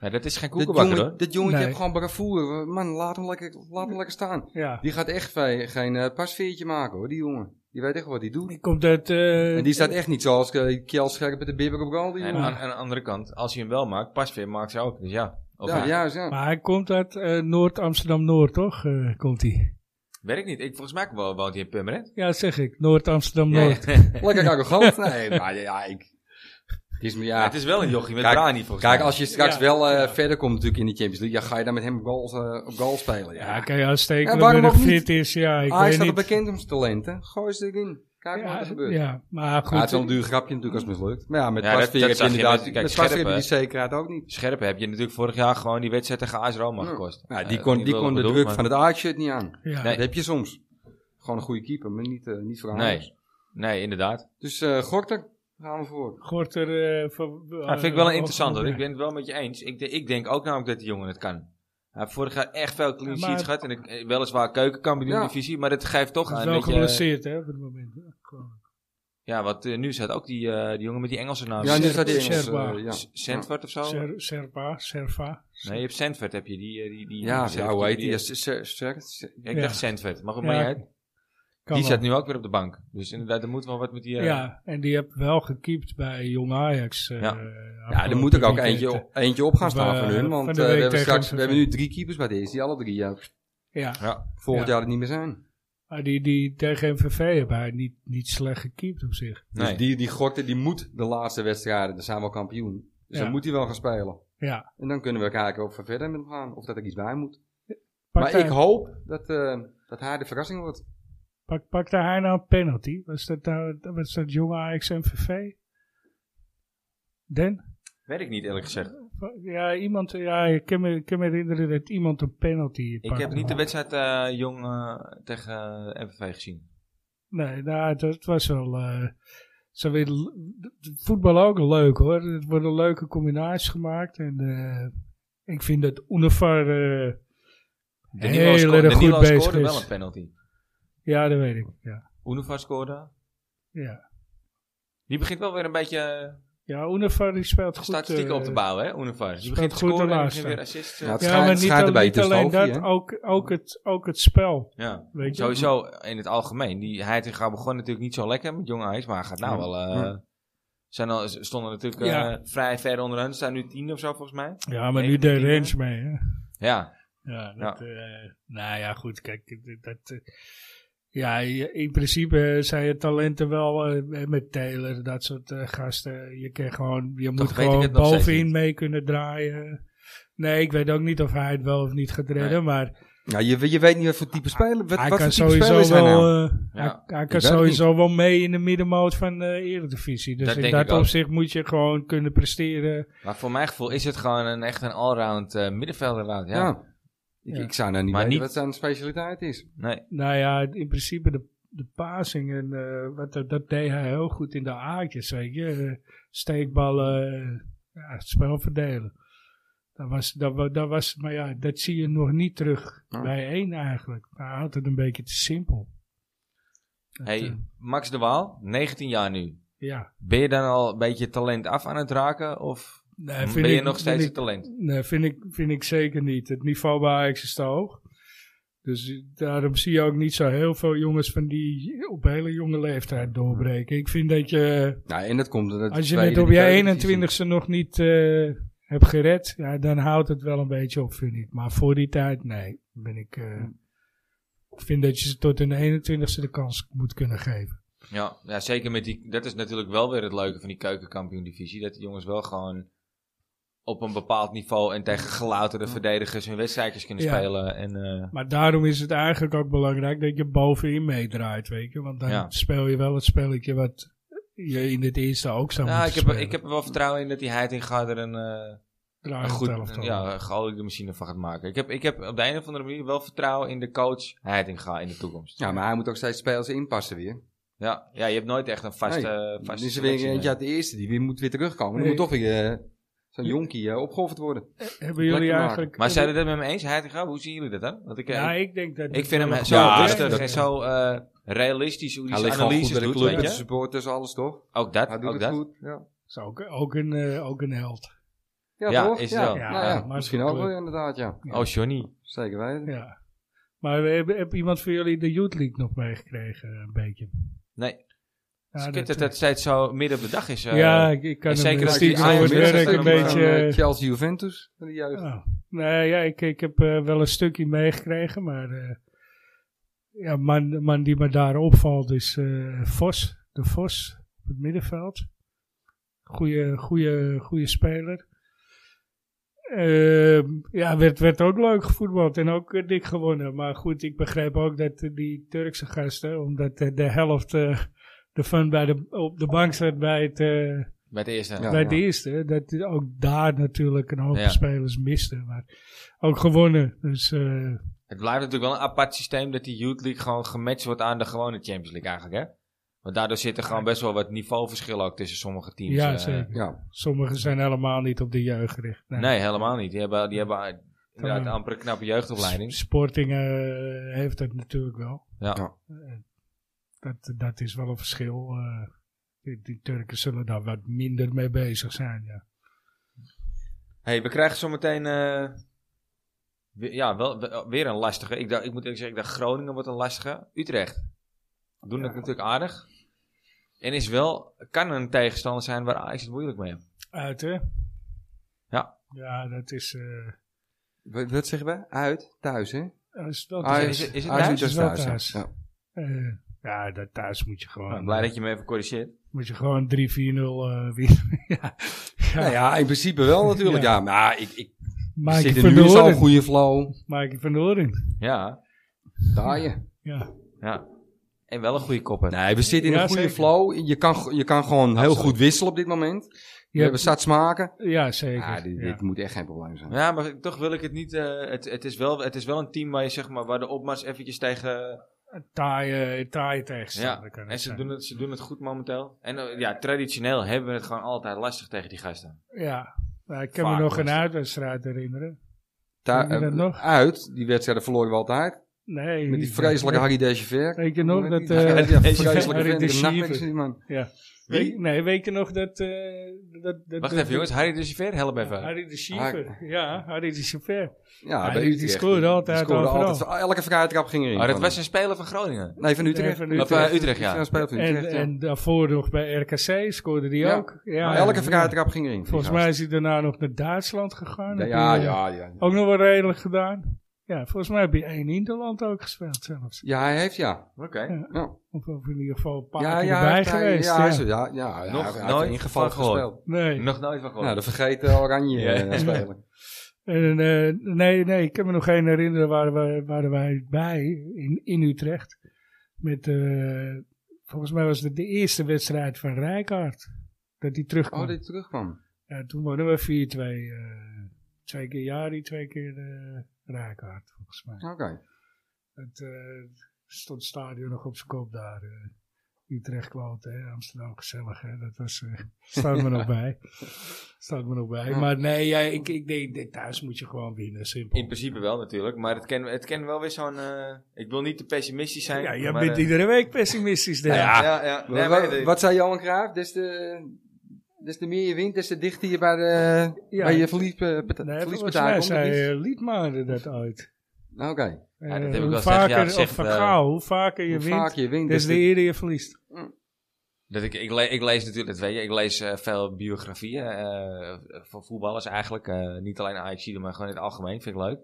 A: Ja, dat is geen
C: Dat,
A: koekenbakker
C: jongen-
A: hoor.
C: dat jongetje
B: Nee.
C: heeft gewoon bravoer. Man, laat hem lekker, laat hem lekker staan.
B: ja.
C: Die gaat echt ve- geen eh, pasveertje maken hoor, die jongen. Die weet echt wat hij doet.
B: Die komt uit... eh,
C: En die staat echt niet zoals eh, Kjell Scherp met de bibber op goal. Die
A: En
C: jongen.
A: aan, aan de andere kant, als hij hem wel maakt, pas weer maakt ze ook. Dus ja, of
C: ja,
A: hij-
C: juist ja.
B: Maar hij komt uit eh, Noord-Amsterdam-Noord, toch? Eh, komt hij?
A: weet ik niet. Ik, volgens mij wo- woont hij in Purmerend.
B: Ja, dat zeg ik. Noord-Amsterdam-Noord.
C: Lekker arrogant. Nee, maar ja, ik... Het is, me- ja,
A: Ja, het is wel een jochie met
C: Kijk-
A: Brani volgens mij.
C: Kijk, als je straks
B: Ja.
C: wel eh, verder komt natuurlijk in de Champions League, ja, ga je dan met hem op goals, eh, op goal spelen.
B: Ja,
C: Ja. Ah,
B: kan je aansteken
C: Ja, waarom
B: dat
C: ook niet?
B: fit is. Ja, ik
C: Ajax
B: weet
C: staat
B: niet.
C: op bekend om zijn talent, hè. Gooi ze erin. Kijk maar
B: ja,
C: wat er gebeurt. Ja,
B: ja, maar goed.
C: het is wel een duur grapje natuurlijk als het mislukt. Maar ja, met
A: Ja,
C: ja,
A: dat- dat
C: heb je
A: zag je
C: inderdaad...
A: met-
C: Met,
A: kijk,
C: Pasveer
A: Scherpen-
C: heb je die zekerheid ook niet.
A: Scherp heb je natuurlijk vorig jaar gewoon die wedstrijd tegen AS Roma
C: Ja.
A: gekost.
C: Ja, die
A: Eh,
C: kon,
A: ik
C: die
A: wil
C: kon de
A: bedoel,
C: druk
A: maar-
C: van het Ajax-shirt niet aan.
A: Nee.
B: ja.
C: Dat heb je soms. Gewoon een goede keeper, maar niet, eh, niet voor Ajax.
A: Nee, nee inderdaad.
C: Dus eh Gorter, gaan we voor.
B: Gorter... eh, van-
A: Dat vind ik wel
B: eh,
A: interessant hoor.
B: ja.
A: Ik ben het wel met je eens. Ik, de- ik denk ook namelijk dat die jongen het kan. Hij heeft vorig jaar echt veel clean
B: Ja, maar-
A: sheets gehad. En ik- eh, weliswaar keukenkampioen
C: Ja.
A: divisie. Maar dat geeft toch
B: Hij is
A: aan
B: wel
A: dat je...
B: geblesseerd, hè, op het moment. hè. Gewoon.
A: Ja, want eh, nu staat ook die, eh, die jongen met die Engelse naam.
C: Ja, nu
B: Ser-
C: staat die Engels.
B: Serpa.
C: eh, ja.
A: S- Sandford of zo?
B: Ser- Serpa, Serva.
A: Nee, je hebt Sandford, heb je die... eh, die, die
C: Ja,
A: die-
C: ja, hoe heet
A: die-
C: die? Ja, Ser- Ser- Ser- Ser-
A: Ja, ik
B: Ja.
A: dacht Sandford, mag het
B: Ja,
A: maar niet uit.
B: Kan
A: Die
B: wel.
A: zit nu ook weer op de bank. Dus inderdaad, er moet wel wat met die...
B: Ja.
A: eh,
B: en die heb wel gekiept bij Jong Ajax. eh,
A: Ja.
C: Ja,
B: afgelopen
C: er moet ook, ook
B: weekend. eh,
C: eentje, op, eentje op gaan staan
B: We-
C: van hun. Want
B: van de
C: eh, we,
B: week
C: hebben
B: tegen
C: straks, we
B: MVV.
C: hebben nu drie keepers bij deze, die alle drie ja,
B: Ja,
A: ja.
C: volgend
B: Ja.
C: jaar er niet meer zijn.
B: maar die, die tegen MVV hebben hij niet, niet slecht gekiept op zich.
A: Nee.
C: Dus die, die Gorter die moet de laatste wedstrijden, dan zijn we al kampioen. Dus
B: Ja.
C: dan moet hij wel gaan spelen.
B: Ja,
C: En dan kunnen we kijken of we verder met hem gaan, of dat er iets bij moet.
B: pakte,
C: Maar ik hoop dat, eh, dat hij de verrassing wordt.
B: pak, pakte hij nou een penalty? Was dat, nou, was dat Jong Ajax MVV? Den?
A: Weet ik niet eerlijk gezegd.
B: Ja, iemand, ja, ik kan me, ik kan me herinneren dat iemand een penalty
A: Ik
B: pakte.
A: heb niet de wedstrijd eh, jong eh, tegen eh, MVV gezien.
B: Nee, nou, dat was wel... eh, zo weer, voetbal ook leuk hoor. Er worden leuke combinaties gemaakt. En eh, ik vind dat Unifar eh,
A: De
B: heel erg goed bezig
A: scoorde wel
B: is.
A: een penalty.
B: Ja, dat weet ik. Ja,
A: Unifar scoorde.
B: ja.
A: Die begint wel weer een beetje
B: ja Unifar die speelt goed.
A: statistieken
B: eh,
A: op te bouwen, hè, Unifar. Die
B: speelt
A: begint te
B: goed de
A: scoren en
B: laatste.
A: begint weer assists. eh,
C: Ja,
A: Ja,
C: het
B: Ja,
C: schijnt-
B: maar
C: het
B: niet,
C: schijnt
B: al-
C: erbij
B: niet
C: te
B: alleen
C: stoven,
B: dat,
C: hè?
B: ook, ook, het, ook het spel. Weet je?
A: Sowieso in het algemeen. Die Heitinga begon natuurlijk niet zo lekker met Jong Ajax, maar hij gaat nou
C: Ja.
A: wel... eh, zijn al, ze stonden natuurlijk eh,
B: Ja.
A: vrij ver onderaan. Ze staan nu tien of zo volgens mij.
B: Ja, maar nu
A: Even
B: deed
A: die,
B: Rens mee. Hè?
A: Ja,
B: Ja, dat, eh, nou ja, goed, kijk, dat- dat, eh, ja, je- in principe eh, zijn je talenten wel eh, met Taylor, dat soort eh, gasten. Je, kan gewoon, je moet
A: weet ik
B: gewoon
A: het nog steeds
B: bovenin
A: niet.
B: mee kunnen draaien. Nee, ik weet ook niet of hij het wel of niet gaat redden,
A: Nee.
B: maar
C: Ja, je, je weet niet wat voor type speler, wat,
B: hij
C: wat
B: kan
C: voor type speler
B: sowieso
C: is hij nou?
B: wel, eh,
A: Ja,
B: hij, hij kan
C: weet het
B: sowieso wel mee in de middenmoot van de Eredivisie. Dus
A: Dat
B: in
A: denk
B: dat
A: ik ook.
B: opzicht moet je gewoon kunnen presteren.
A: maar voor mijn gevoel is het gewoon een, echt een allround eh, middenvelder. inderdaad,
C: Ja.
A: Ja.
C: Ik,
B: Ja.
C: ik zou nou niet
A: Maar
C: weten
A: niet-
C: wat zijn specialiteit is.
A: Nee.
B: Nou ja, in principe de, de passing, en, eh, wat, dat- dat deed hij heel goed in de aardjes, weet je. Eh, steekballen, eh, ja, het spel verdelen. Dat was, dat, wa- dat was, maar ja, dat zie je nog niet terug
A: Ah.
C: Ja.
B: bij één eigenlijk. Maar hij had het een beetje te simpel. Dat, eh,
A: Hey, Max de Waal, 19 jaar nu.
B: ja.
A: Ben je dan al een beetje talent af aan het raken? Of
B: Nee, vind
A: ben je
B: ik-
A: nog
B: vind
A: steeds
B: ik-
A: een talent?
B: Nee, vind ik, vind ik zeker niet. Het niveau bij Ajax is te hoog. Dus daarom zie je ook niet zo heel veel jongens van die op hele jonge leeftijd doorbreken. Ik vind dat je,
C: Nou, en dat komt omdat
B: als je
C: tweede
B: het op
C: en derde
B: je 21ste nog niet eh, hebt gered, ja, dan houdt het wel een beetje op, vind ik. Maar voor die tijd, nee. Ben ik, eh, ik vind dat je ze tot hun 21ste de kans moet kunnen geven.
A: Ja, ja, zeker met die. Dat is natuurlijk wel weer het leuke van die keukenkampioen-divisie. Dat de jongens wel gewoon op een bepaald niveau en tegen gelouterde verdedigers hun wedstrijdjes kunnen
B: Ja.
A: spelen. En, eh,
B: Maar daarom is het eigenlijk ook belangrijk dat je bovenin meedraait, weet je. Want dan
A: Ja.
B: speel je wel het spelletje wat je in het eerste ook zou
A: nou,
B: moeten
A: ik heb,
B: spelen.
A: ik heb er wel vertrouwen in dat die Heiting gaat er een, eh, een
B: Draai het
A: goed,
B: elftal.
A: ja, een geoliede machine van gaat maken. Ik heb, ik heb op de een of andere manier wel vertrouwen in de coach Heitinga in de toekomst.
C: Ja, maar hij moet ook steeds spelers inpassen weer.
A: Ja, ja, je hebt nooit echt een vaste.
C: Nee,
A: vaste
C: dus er weer
A: selectie,
C: eentje
A: nee.
C: uit de eerste, die weer moet weer terugkomen. Dan
B: Nee.
C: moet toch weer eh, zo'n jonkie eh, opgeofferd worden.
B: Hebben
C: Plek te
B: jullie
C: maken.
B: eigenlijk...
A: Maar zijn jullie dat met me eens, Heitinga? Hoe zien jullie dat dan? Want ik,
B: Ja,
A: ik,
B: ik denk dat... eh,
A: ik vind hem eh, zo
C: Ja,
A: rustig
C: dat-
A: en zo eh, realistisch hoe hij
C: Hij
A: zijn
C: ligt gewoon goed
A: analyses
C: bij de
A: doet,
C: club,
A: weet
C: met de
A: je?
C: supporters, alles toch?
A: Ook dat,
C: Hij doet
A: ook
C: het
A: dat.
C: goed. Ja,
B: Is ook, ook, een, eh, ook een held.
C: ja,
A: Ja,
C: toch?
A: is
C: ja.
A: wel.
C: Nou
B: Ja,
C: ja,
B: maar
C: misschien
B: het
C: ook
B: is
C: wel
B: leuk.
C: inderdaad, ja.
B: Ja.
A: Oh, Johnny.
C: Zeker weten.
B: Ja. Maar we hebben, heb iemand van jullie de Youth League nog meegekregen, eh, een beetje?
A: Nee.
B: Ja,
A: het is kut dat het steeds zo midden op de dag is. eh.
B: ja ik, ik kan
A: en
B: hem
A: zeker
B: zeker
A: als die
B: stiekem over het
A: Ajax
B: werk
A: wedstrijd
B: een
A: dan,
B: beetje...
C: eh,
B: eh,
C: Chelsea Juventus, van de jeugd.
B: Oh. Nee, ja, ik, ik heb eh, wel een stukje meegekregen, maar eh, ja, man, de man die me daar opvalt is eh, Vos, de Vos op het middenveld. Goeie, goeie, goeie speler. Ehm, ja, werd, werd ook leuk gevoetbald en ook eh, dik gewonnen. Maar goed, ik begreep ook dat eh, die Turkse gasten, omdat eh, de helft eh, ervan bij de, op de bank zat bij het... eh,
A: Bij het eerste.
C: Ja.
B: bij de eerste. Dat ook daar natuurlijk een hoop
A: Ja.
B: spelers misten. Maar ook gewonnen. Dus eh,
A: Het blijft natuurlijk wel een apart systeem dat die Youth League gewoon gematcht wordt aan de gewone Champions League eigenlijk, hè? Want daardoor zit er gewoon best wel wat niveauverschil ook tussen sommige teams.
B: ja,
A: eh.
B: zeker.
C: Ja,
B: Sommigen zijn helemaal niet op de jeugd gericht. Nou, Nee.
A: Nee, helemaal niet. Die hebben, die hebben eh, inderdaad
B: Dan-
A: amper een knappe
B: S-
A: jeugdopleiding.
B: Sporting eh, heeft dat natuurlijk wel.
A: Ja.
C: Ja.
B: Eh, dat, dat is wel een verschil. eh. die, die Turken zullen daar wat minder mee bezig zijn. Ja.
A: hey, we krijgen zometeen... eh, we- ja, wel, we- oh, weer een lastige. Ik, dacht, ik moet eerlijk zeggen, ik dacht Groningen wordt een lastige. Utrecht. Doen dat natuurlijk aardig. En is wel, kan een tegenstander zijn waar Ajax het moeilijk mee heeft.
B: Uit hè?
A: Ja.
B: Ja, dat is. eh,
C: Wat- wat zeggen we? Uit, thuis, hè?
B: dat is wel
C: Ajax-
A: is het- is het
C: Ajax
A: thuis?
C: Utrecht
B: Is wel
C: thuis, ja.
B: thuis.
C: Ja.
B: eh, ja, dat thuis moet je gewoon. eh,
A: Nou, blij dat je me even corrigeert.
B: Moet je gewoon 3-4-0 eh winnen. ja. Ja.
C: Nou ja, in principe wel natuurlijk. Ja, maar ik, ik
B: Mike
C: zit
B: van
C: er nu in zo'n
B: Doorn.
C: goede flow.
B: Mike van Doorn.
A: Ja,
C: Daar je.
B: Ja.
A: ja. En wel een goede kopper.
C: Nee, we zitten in
B: Ja,
C: een goede
B: zeker.
C: flow. Je kan, go- je kan gewoon heel
A: Absoluut.
C: goed wisselen op dit moment. We
B: Ja,
C: hebben zat smaken.
B: ja, zeker.
C: Ah, dit,
B: ja.
C: dit moet echt geen probleem zijn.
A: Ja, maar toch wil ik het niet. eh, het, het, is wel, het is wel een team waar je zeg maar waar de opmars eventjes tegen.
B: Een Taaie, een taaie
A: Ja,
B: tegenstander kan het
A: en ze
B: zijn.
A: doen het, ze doen het goed momenteel. En eh, ja, traditioneel hebben we het gewoon altijd lastig tegen die gasten.
B: Ja. Nou, ik kan
A: Vaak
B: me nog een
A: lastig.
B: uitwedstrijd herinneren.
C: Daar,
B: Weet je dat
C: eh,
B: nog?
C: Uit, die wedstrijden verloren we altijd.
B: Nee.
C: Met die vreselijke Harry Dejever.
B: Weet je nog dat, eh,
C: ja, die vreselijke
B: Harry
C: vent,
B: de
C: de nachtmerries
B: Schiever.
C: die man.
B: Weet, nee, weet je nog dat... eh, dat, dat
A: Wacht
B: dat-
A: even, jongens. Harry de Chauffeur, help even.
B: Harry
C: Ah,
B: de Schiever. Ja, Harry de Schiever.
C: Ja,
B: Hij-
C: bij
B: die
C: Utrecht.
B: scoorde altijd
C: scoorde
B: overal.
C: altijd. Elke vrije trap ging erin.
A: Oh, dat
C: van
A: was
C: hem.
A: een speler van Groningen.
C: Nee, van Utrecht.
B: Nee, van
A: Of,
B: Utrecht.
A: eh, Utrecht, ja.
C: Hij speelde voor
B: En,
C: Utrecht, ja.
B: en daarvoor nog bij RKC scoorde die
C: Ja.
B: ook. Ja,
C: Maar Elke
B: ja.
C: vrije trap ging erin.
B: Volgens mij is hij daarna nog naar Duitsland gegaan.
C: Ja,
B: Heb
C: ja,
B: je, eh,
C: ja. ja.
B: Ook nog wel redelijk gedaan. Ja, volgens mij heb je één Interland ook gespeeld zelfs.
C: Ja, hij heeft ja.
A: Oké.
C: Ja,
B: Of, of in ieder geval een paar
C: ja,
B: keer
C: ja,
B: erbij
C: hij-
B: geweest.
C: Ja, hij
B: Ja,
C: is er- ja, ja, hij
A: Nog
C: heeft- hij
A: nooit
C: heeft ingevallen
A: van gehoord.
C: gespeeld.
B: Nee.
A: Nog nooit van gehoord.
C: Nou, de vergeten oranje
A: Ja.
C: eh, speler.
B: En, eh, nee, nee, ik kan me nog één herinneren. Waren wij, waren wij bij in, in Utrecht. Met, eh, volgens mij was het de eerste wedstrijd van Rijkaard. Dat hij terugkwam.
C: Oh, dit terugkwam.
B: ja, toen wonnen we 4-2. eh, twee keer Jari, twee keer eh Rijkaard volgens mij.
C: Oké.
B: Het eh, stond het stadion nog op zijn kop daar. eh. Utrecht klote, hè, Amsterdam gezellig. Hè. Dat was, eh, staat me nog bij. Staat me nog bij.
C: Ja.
B: Maar nee, ja, ik, ik denk, dit thuis moet je gewoon winnen, simpel.
A: In principe wel natuurlijk, maar het kan, het kan wel weer zo'n. eh, ik wil niet te pessimistisch zijn.
B: ja,
A: maar,
B: jij bent
A: eh, Nou
B: iedere week pessimistisch. denk ik.
A: Ja, ja. ja. Nee,
C: Wa-
A: maar-
C: wa- wat zei Johan Cruijff? Des te, des te meer je wint, des te dichter je bij, de,
B: Ja.
C: bij je verlies, eh, pata-
B: Nee, volgens
C: verliespartij
B: mij
C: komt.
B: zei
C: het niet? Nou,
B: eh, Liedmanen dat uit.
C: Oké.
A: Ja, dat
B: Eh,
A: heb ik wel
B: hoe
A: gezegd,
B: vaker,
A: ja, het
B: of
A: zegt,
B: van
A: eh,
B: Gaal, hoe vaker je
C: Hoe
B: wint,
C: vaak je wint,
B: des
C: dus
B: te eerder je verliest.
A: Dat ik, ik, le- ik lees natuurlijk, dat weet je, ik lees eh, veel biografieën eh, van voetballers eigenlijk. eh, niet alleen Ajax, maar gewoon in het algemeen. Vind ik leuk.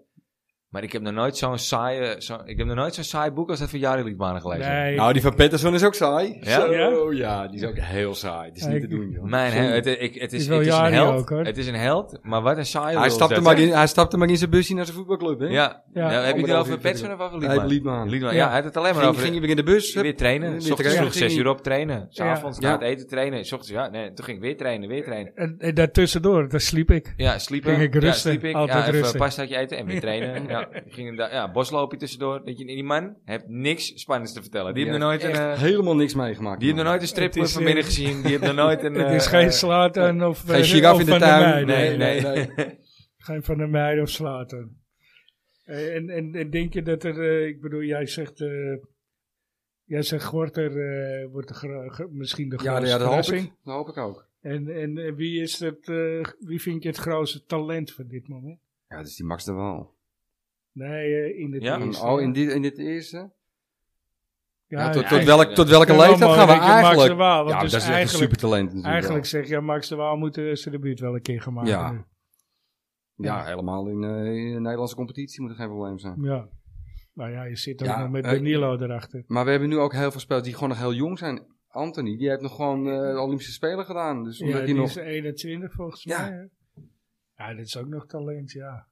A: Maar ik heb nog nooit zo'n saai, zo, ik heb nog nooit zo'n saai boek als dat van Jari Liedmanen gelezen.
B: Nee,
C: Nou, die van Pettersson is ook saai.
A: Ja?
C: Zo,
B: Ja?
C: ja, die is ook heel saai. Het is
B: Hij-
C: niet te doen, joh.
A: Mijn, hè,
C: Zonde.
A: het, ik, het, is,
B: Is wel
A: het is een
B: Jari
A: held.
B: ook, hoor.
A: Het is een held, maar wat een saai
C: hij, stapte maar in, hij stapte maar in zijn busje naar zijn voetbalclub, hè?
A: Ja,
B: Ja.
A: Nou, heb je het
C: Anderhalf
A: over
C: uur
A: Petsen of over
C: Hij
A: Liedmanen?
C: liep
A: Liedmanen,
B: Ja.
A: ja, hij had het alleen maar
C: Ging,
A: over...
C: ging je weer in de bus? hup.
A: Weer trainen,
C: Weer
A: s ochtends
C: trainen.
A: vroeg
C: Ging
A: zes
C: hij-
A: uur op trainen, s
B: Ja.
A: avonds
C: Ja.
A: na het eten trainen, s ochtends, ja, nee, toen ging ik weer trainen, weer trainen.
B: en, en daartussendoor, daar sliep ik.
A: Ja, sliepen.
B: Ging ik
A: ja,
B: rusten,
A: sliep ik.
B: altijd
A: ja, even
B: rusten.
A: een pastaatje eten en weer trainen. ja, ging inderdaad- ja, bosloopje tussendoor. Dat je, die man heeft niks spannends te vertellen. Die heeft nog nooit een,
C: echt
A: eh,
C: helemaal niks meegemaakt.
A: die heeft nog
C: man.
A: nooit een stripclub
B: Het is, eh,
A: vanmiddag gezien. Die heeft nog nooit een...
B: het is
A: eh,
B: geen
A: eh,
B: Slaten of,
C: Geen
B: eh,
C: giraf
B: of
C: in de
B: Van der
C: tuin.
B: Meijden.
A: Nee, nee.
B: Geen Van der Meijden of Slaten. Eh, En, en, en denk je dat er, eh, ik bedoel, jij zegt, eh, jij zegt Gorter eh, wordt de gro- gro- misschien de
C: Ja,
B: grootste
C: ja, dat hoop
B: verrassing.
C: ik. Dat hoop ik ook.
B: En, en eh, wie, is het, eh, wie vind je het grootste talent van dit moment?
C: Ja, dat is die Max de Waal.
B: Nee, eh, in het
A: Ja,
C: Van-
B: eerste.
C: Oh, in, die, in dit eerste? Ja, tot,
A: ja,
C: tot,
A: ja.
C: welk, tot welke
B: Ja,
C: leeftijd
B: mooi
C: gaan we
B: dat je Max
C: eigenlijk?
B: de Waal, want
C: ja,
B: dus
C: dat is echt een
B: eigenlijk-
C: supertalent natuurlijk.
B: Eigenlijk
C: wel.
B: zeg je, Max de Waal moet eh, zijn debuut wel een keer gemaakt
C: Ja.
B: hebben.
C: Ja, helemaal in, eh, in de Nederlandse competitie moet er geen probleem zijn.
B: ja. Nou ja, je zit ook
C: Ja,
B: nog met
C: eh,
B: Danilo erachter.
C: Maar we hebben nu ook heel veel spelers die gewoon nog heel jong zijn. Anthony, die heeft nog gewoon eh, de Olympische Spelen gedaan. Dus omdat
B: Ja,
C: hij
B: die
C: nog...
B: is 21 volgens
C: Ja.
B: mij. hè? Ja, dit is ook nog talent, ja.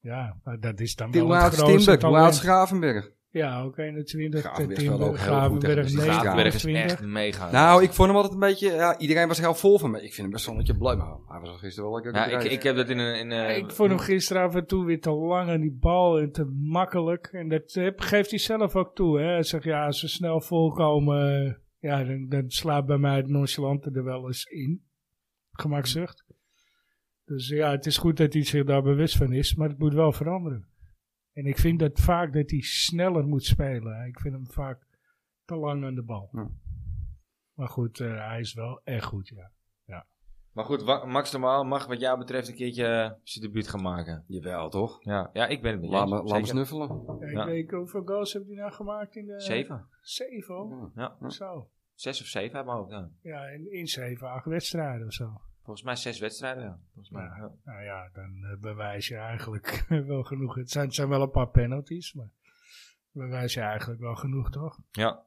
B: Ja, maar dat is dan
C: Die
B: wel het
C: laatste
B: grootste
C: Timber, die
B: talent.
C: laatste Gravenberg.
B: Ja, ook 21.
C: Gravenberg
B: Timber,
C: speelde ook heel goed, hè.
B: Gravenberg,
C: Dus die
A: Graafberg
B: 29.
A: is echt mega.
C: Nou, ik vond hem altijd een beetje... Ja, iedereen was er heel vol van. Maar ik vind hem best wel een beetje blij. Maar hij was al gisteren wel lekker.
A: Ja, ik,
C: gedreven.
A: ik heb dat in een... In,
B: Ja,
A: eh,
B: ik vond hem gisteren af en toe weer te lang aan die bal en te makkelijk. En dat eh, heb- geeft hij zelf ook toe. Hè? Hij zegt, ja, als ze snel volkomen, eh, ja, dan, dan slaat bij mij het nonchalante er wel eens in. Gemakzucht. Dus ja, het is goed dat hij zich daar bewust van is, maar het moet wel veranderen. En ik vind dat vaak dat hij sneller moet spelen. hè. Ik vind hem vaak te lang aan de bal.
C: Ja.
B: Maar goed, eh, hij is wel echt goed, ja.
A: Maar goed, Wa- Max Normaal mag wat jou betreft een keertje eh, zijn debuut gaan maken.
C: Jawel, toch?
A: Ja, ja ik ben het met je
C: Laat
A: eens,
C: me, laat
A: zeker.
C: me snuffelen.
B: Kijk,
A: Ja.
B: ik- hoeveel goals heeft hij nou gemaakt in de...
A: Zeven.
B: Zeven al?
C: Ja.
A: Ja,
B: Zo.
A: zes of zeven hebben we ook. ja.
B: Ja, in, in zeven, acht wedstrijden of zo.
A: Volgens mij zes wedstrijden. Ja. Volgens mij, ja.
B: Nou ja, dan eh, bewijs je eigenlijk wel genoeg. Het zijn, het zijn wel een paar penalties, maar bewijs je eigenlijk wel genoeg, toch?
A: Ja.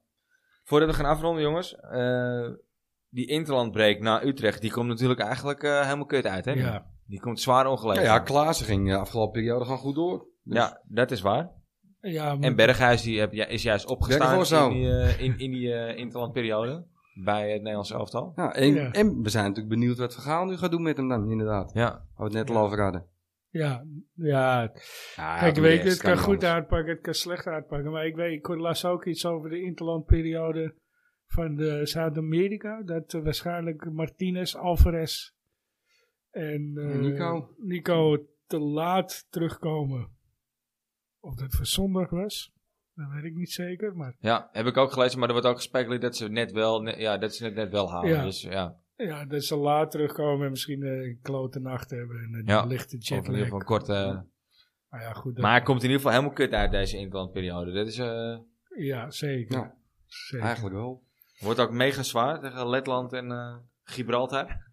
A: Voordat we gaan afronden, jongens. eh, die interlandbreak na Utrecht, die komt natuurlijk eigenlijk eh, helemaal kut uit, hè?
B: Ja.
A: Die komt zwaar ongelegen.
C: Ja, ja, Klaassen ging de afgelopen periode gewoon goed door. Dus
A: Ja, dat is waar.
B: ja maar-
A: En Berghuis die heb, ja, is juist opgestaan
C: Berghuis ook.
A: in die, eh, in, in die eh, interlandperiode bij het Nederlands elftal.
C: Ja, en,
B: Ja.
C: en we zijn natuurlijk benieuwd wat Vergaal nu gaat doen met hem dan, inderdaad.
A: Ja,
C: Waar we het net al over hadden.
B: ja, ja.
C: Ja,
A: Ah,
B: Kijk,
C: maar
B: weet je,
C: eerst
B: het kan
C: niet
B: goed
C: anders.
B: uitpakken, het kan slecht uitpakken. Maar ik, weet, ik hoor- las ook iets over de interlandperiode van de Zuid-Amerika. Dat eh, waarschijnlijk Martinez, Alvarez en eh,
C: Nico.
B: Nico te laat terugkomen. Of dat voor zondag was, dat weet ik niet zeker. Maar
A: ja, heb ik ook gelezen, maar er wordt ook gespeculeerd dat ze net wel, ne- ja, dat ze het net wel halen.
B: Ja.
A: Dus ja,
B: ja, dat ze laat terugkomen en misschien eh, een klote nacht hebben en een
A: Ja,
B: lichte
A: of in ieder geval
B: jetlag.
A: een korte.
B: Maar ja, goed. dat-
A: maar hij komt in ieder geval helemaal kut uit deze interlandperiode. Dat is, eh,
B: Ja, zeker.
C: Ja.
B: Zeker.
C: Eigenlijk wel.
A: wordt ook mega zwaar tegen Letland en eh, Gibraltar.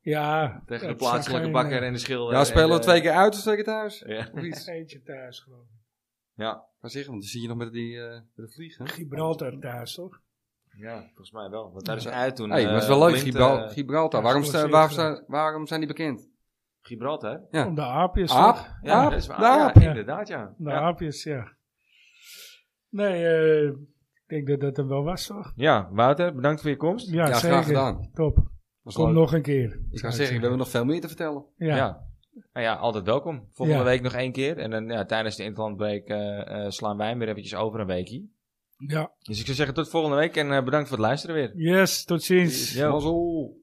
B: Ja.
A: Tegen de
B: het
A: plaatselijke
B: zag geen,
A: bakker
B: eh,
A: en de schilder.
C: Ja, spelen
A: en eh,
C: we
A: de-
C: twee keer uit of twee keer thuis?
A: Ja.
C: Of iets?
B: Eentje thuis geloof ik.
A: Ja.
C: Maar zeg, want dan zie je nog met die eh, met de vliegen.
B: Gibraltar thuis, toch?
A: ja, volgens mij wel. Want daar is
C: Ja.
A: uit toen.
C: hey,
A: eh,
C: maar het is wel leuk,
A: Blind,
C: Gibral-
A: eh,
C: Gibraltar.
B: ja,
C: waarom, sta,
B: geblesseerd
C: waarom,
B: geraakt.
C: sta- waarom zijn die bekend?
A: Gibraltar?
C: Ja.
B: Om de aapjes,
C: Aap?
B: toch?
A: Ja,
C: Aap?
A: dat is waar.
C: De aap.
A: Ja,
B: ja.
A: inderdaad, ja.
B: Om de
A: Ja.
B: aapjes, ja. Nee, eh, ik denk dat dat hem wel was, toch?
A: Ja, Wouter, bedankt voor je komst.
B: Ja,
C: Ja,
B: zeker.
C: graag gedaan.
B: Top.
C: Was
B: Kom
C: leuk.
B: nog een keer.
C: Ik kan zeggen, we hebben nog veel meer te vertellen.
A: Ja.
B: Ja.
A: Nou ja, altijd welkom. Volgende
B: Ja.
A: week nog één keer. En dan ja, tijdens de interlandbreak eh, eh, slaan wij hem weer eventjes over een weekie.
B: ja.
A: Dus ik zou zeggen tot volgende week en eh, bedankt voor het luisteren weer.
B: Yes, tot ziens.
A: Ja.
C: Mazzel.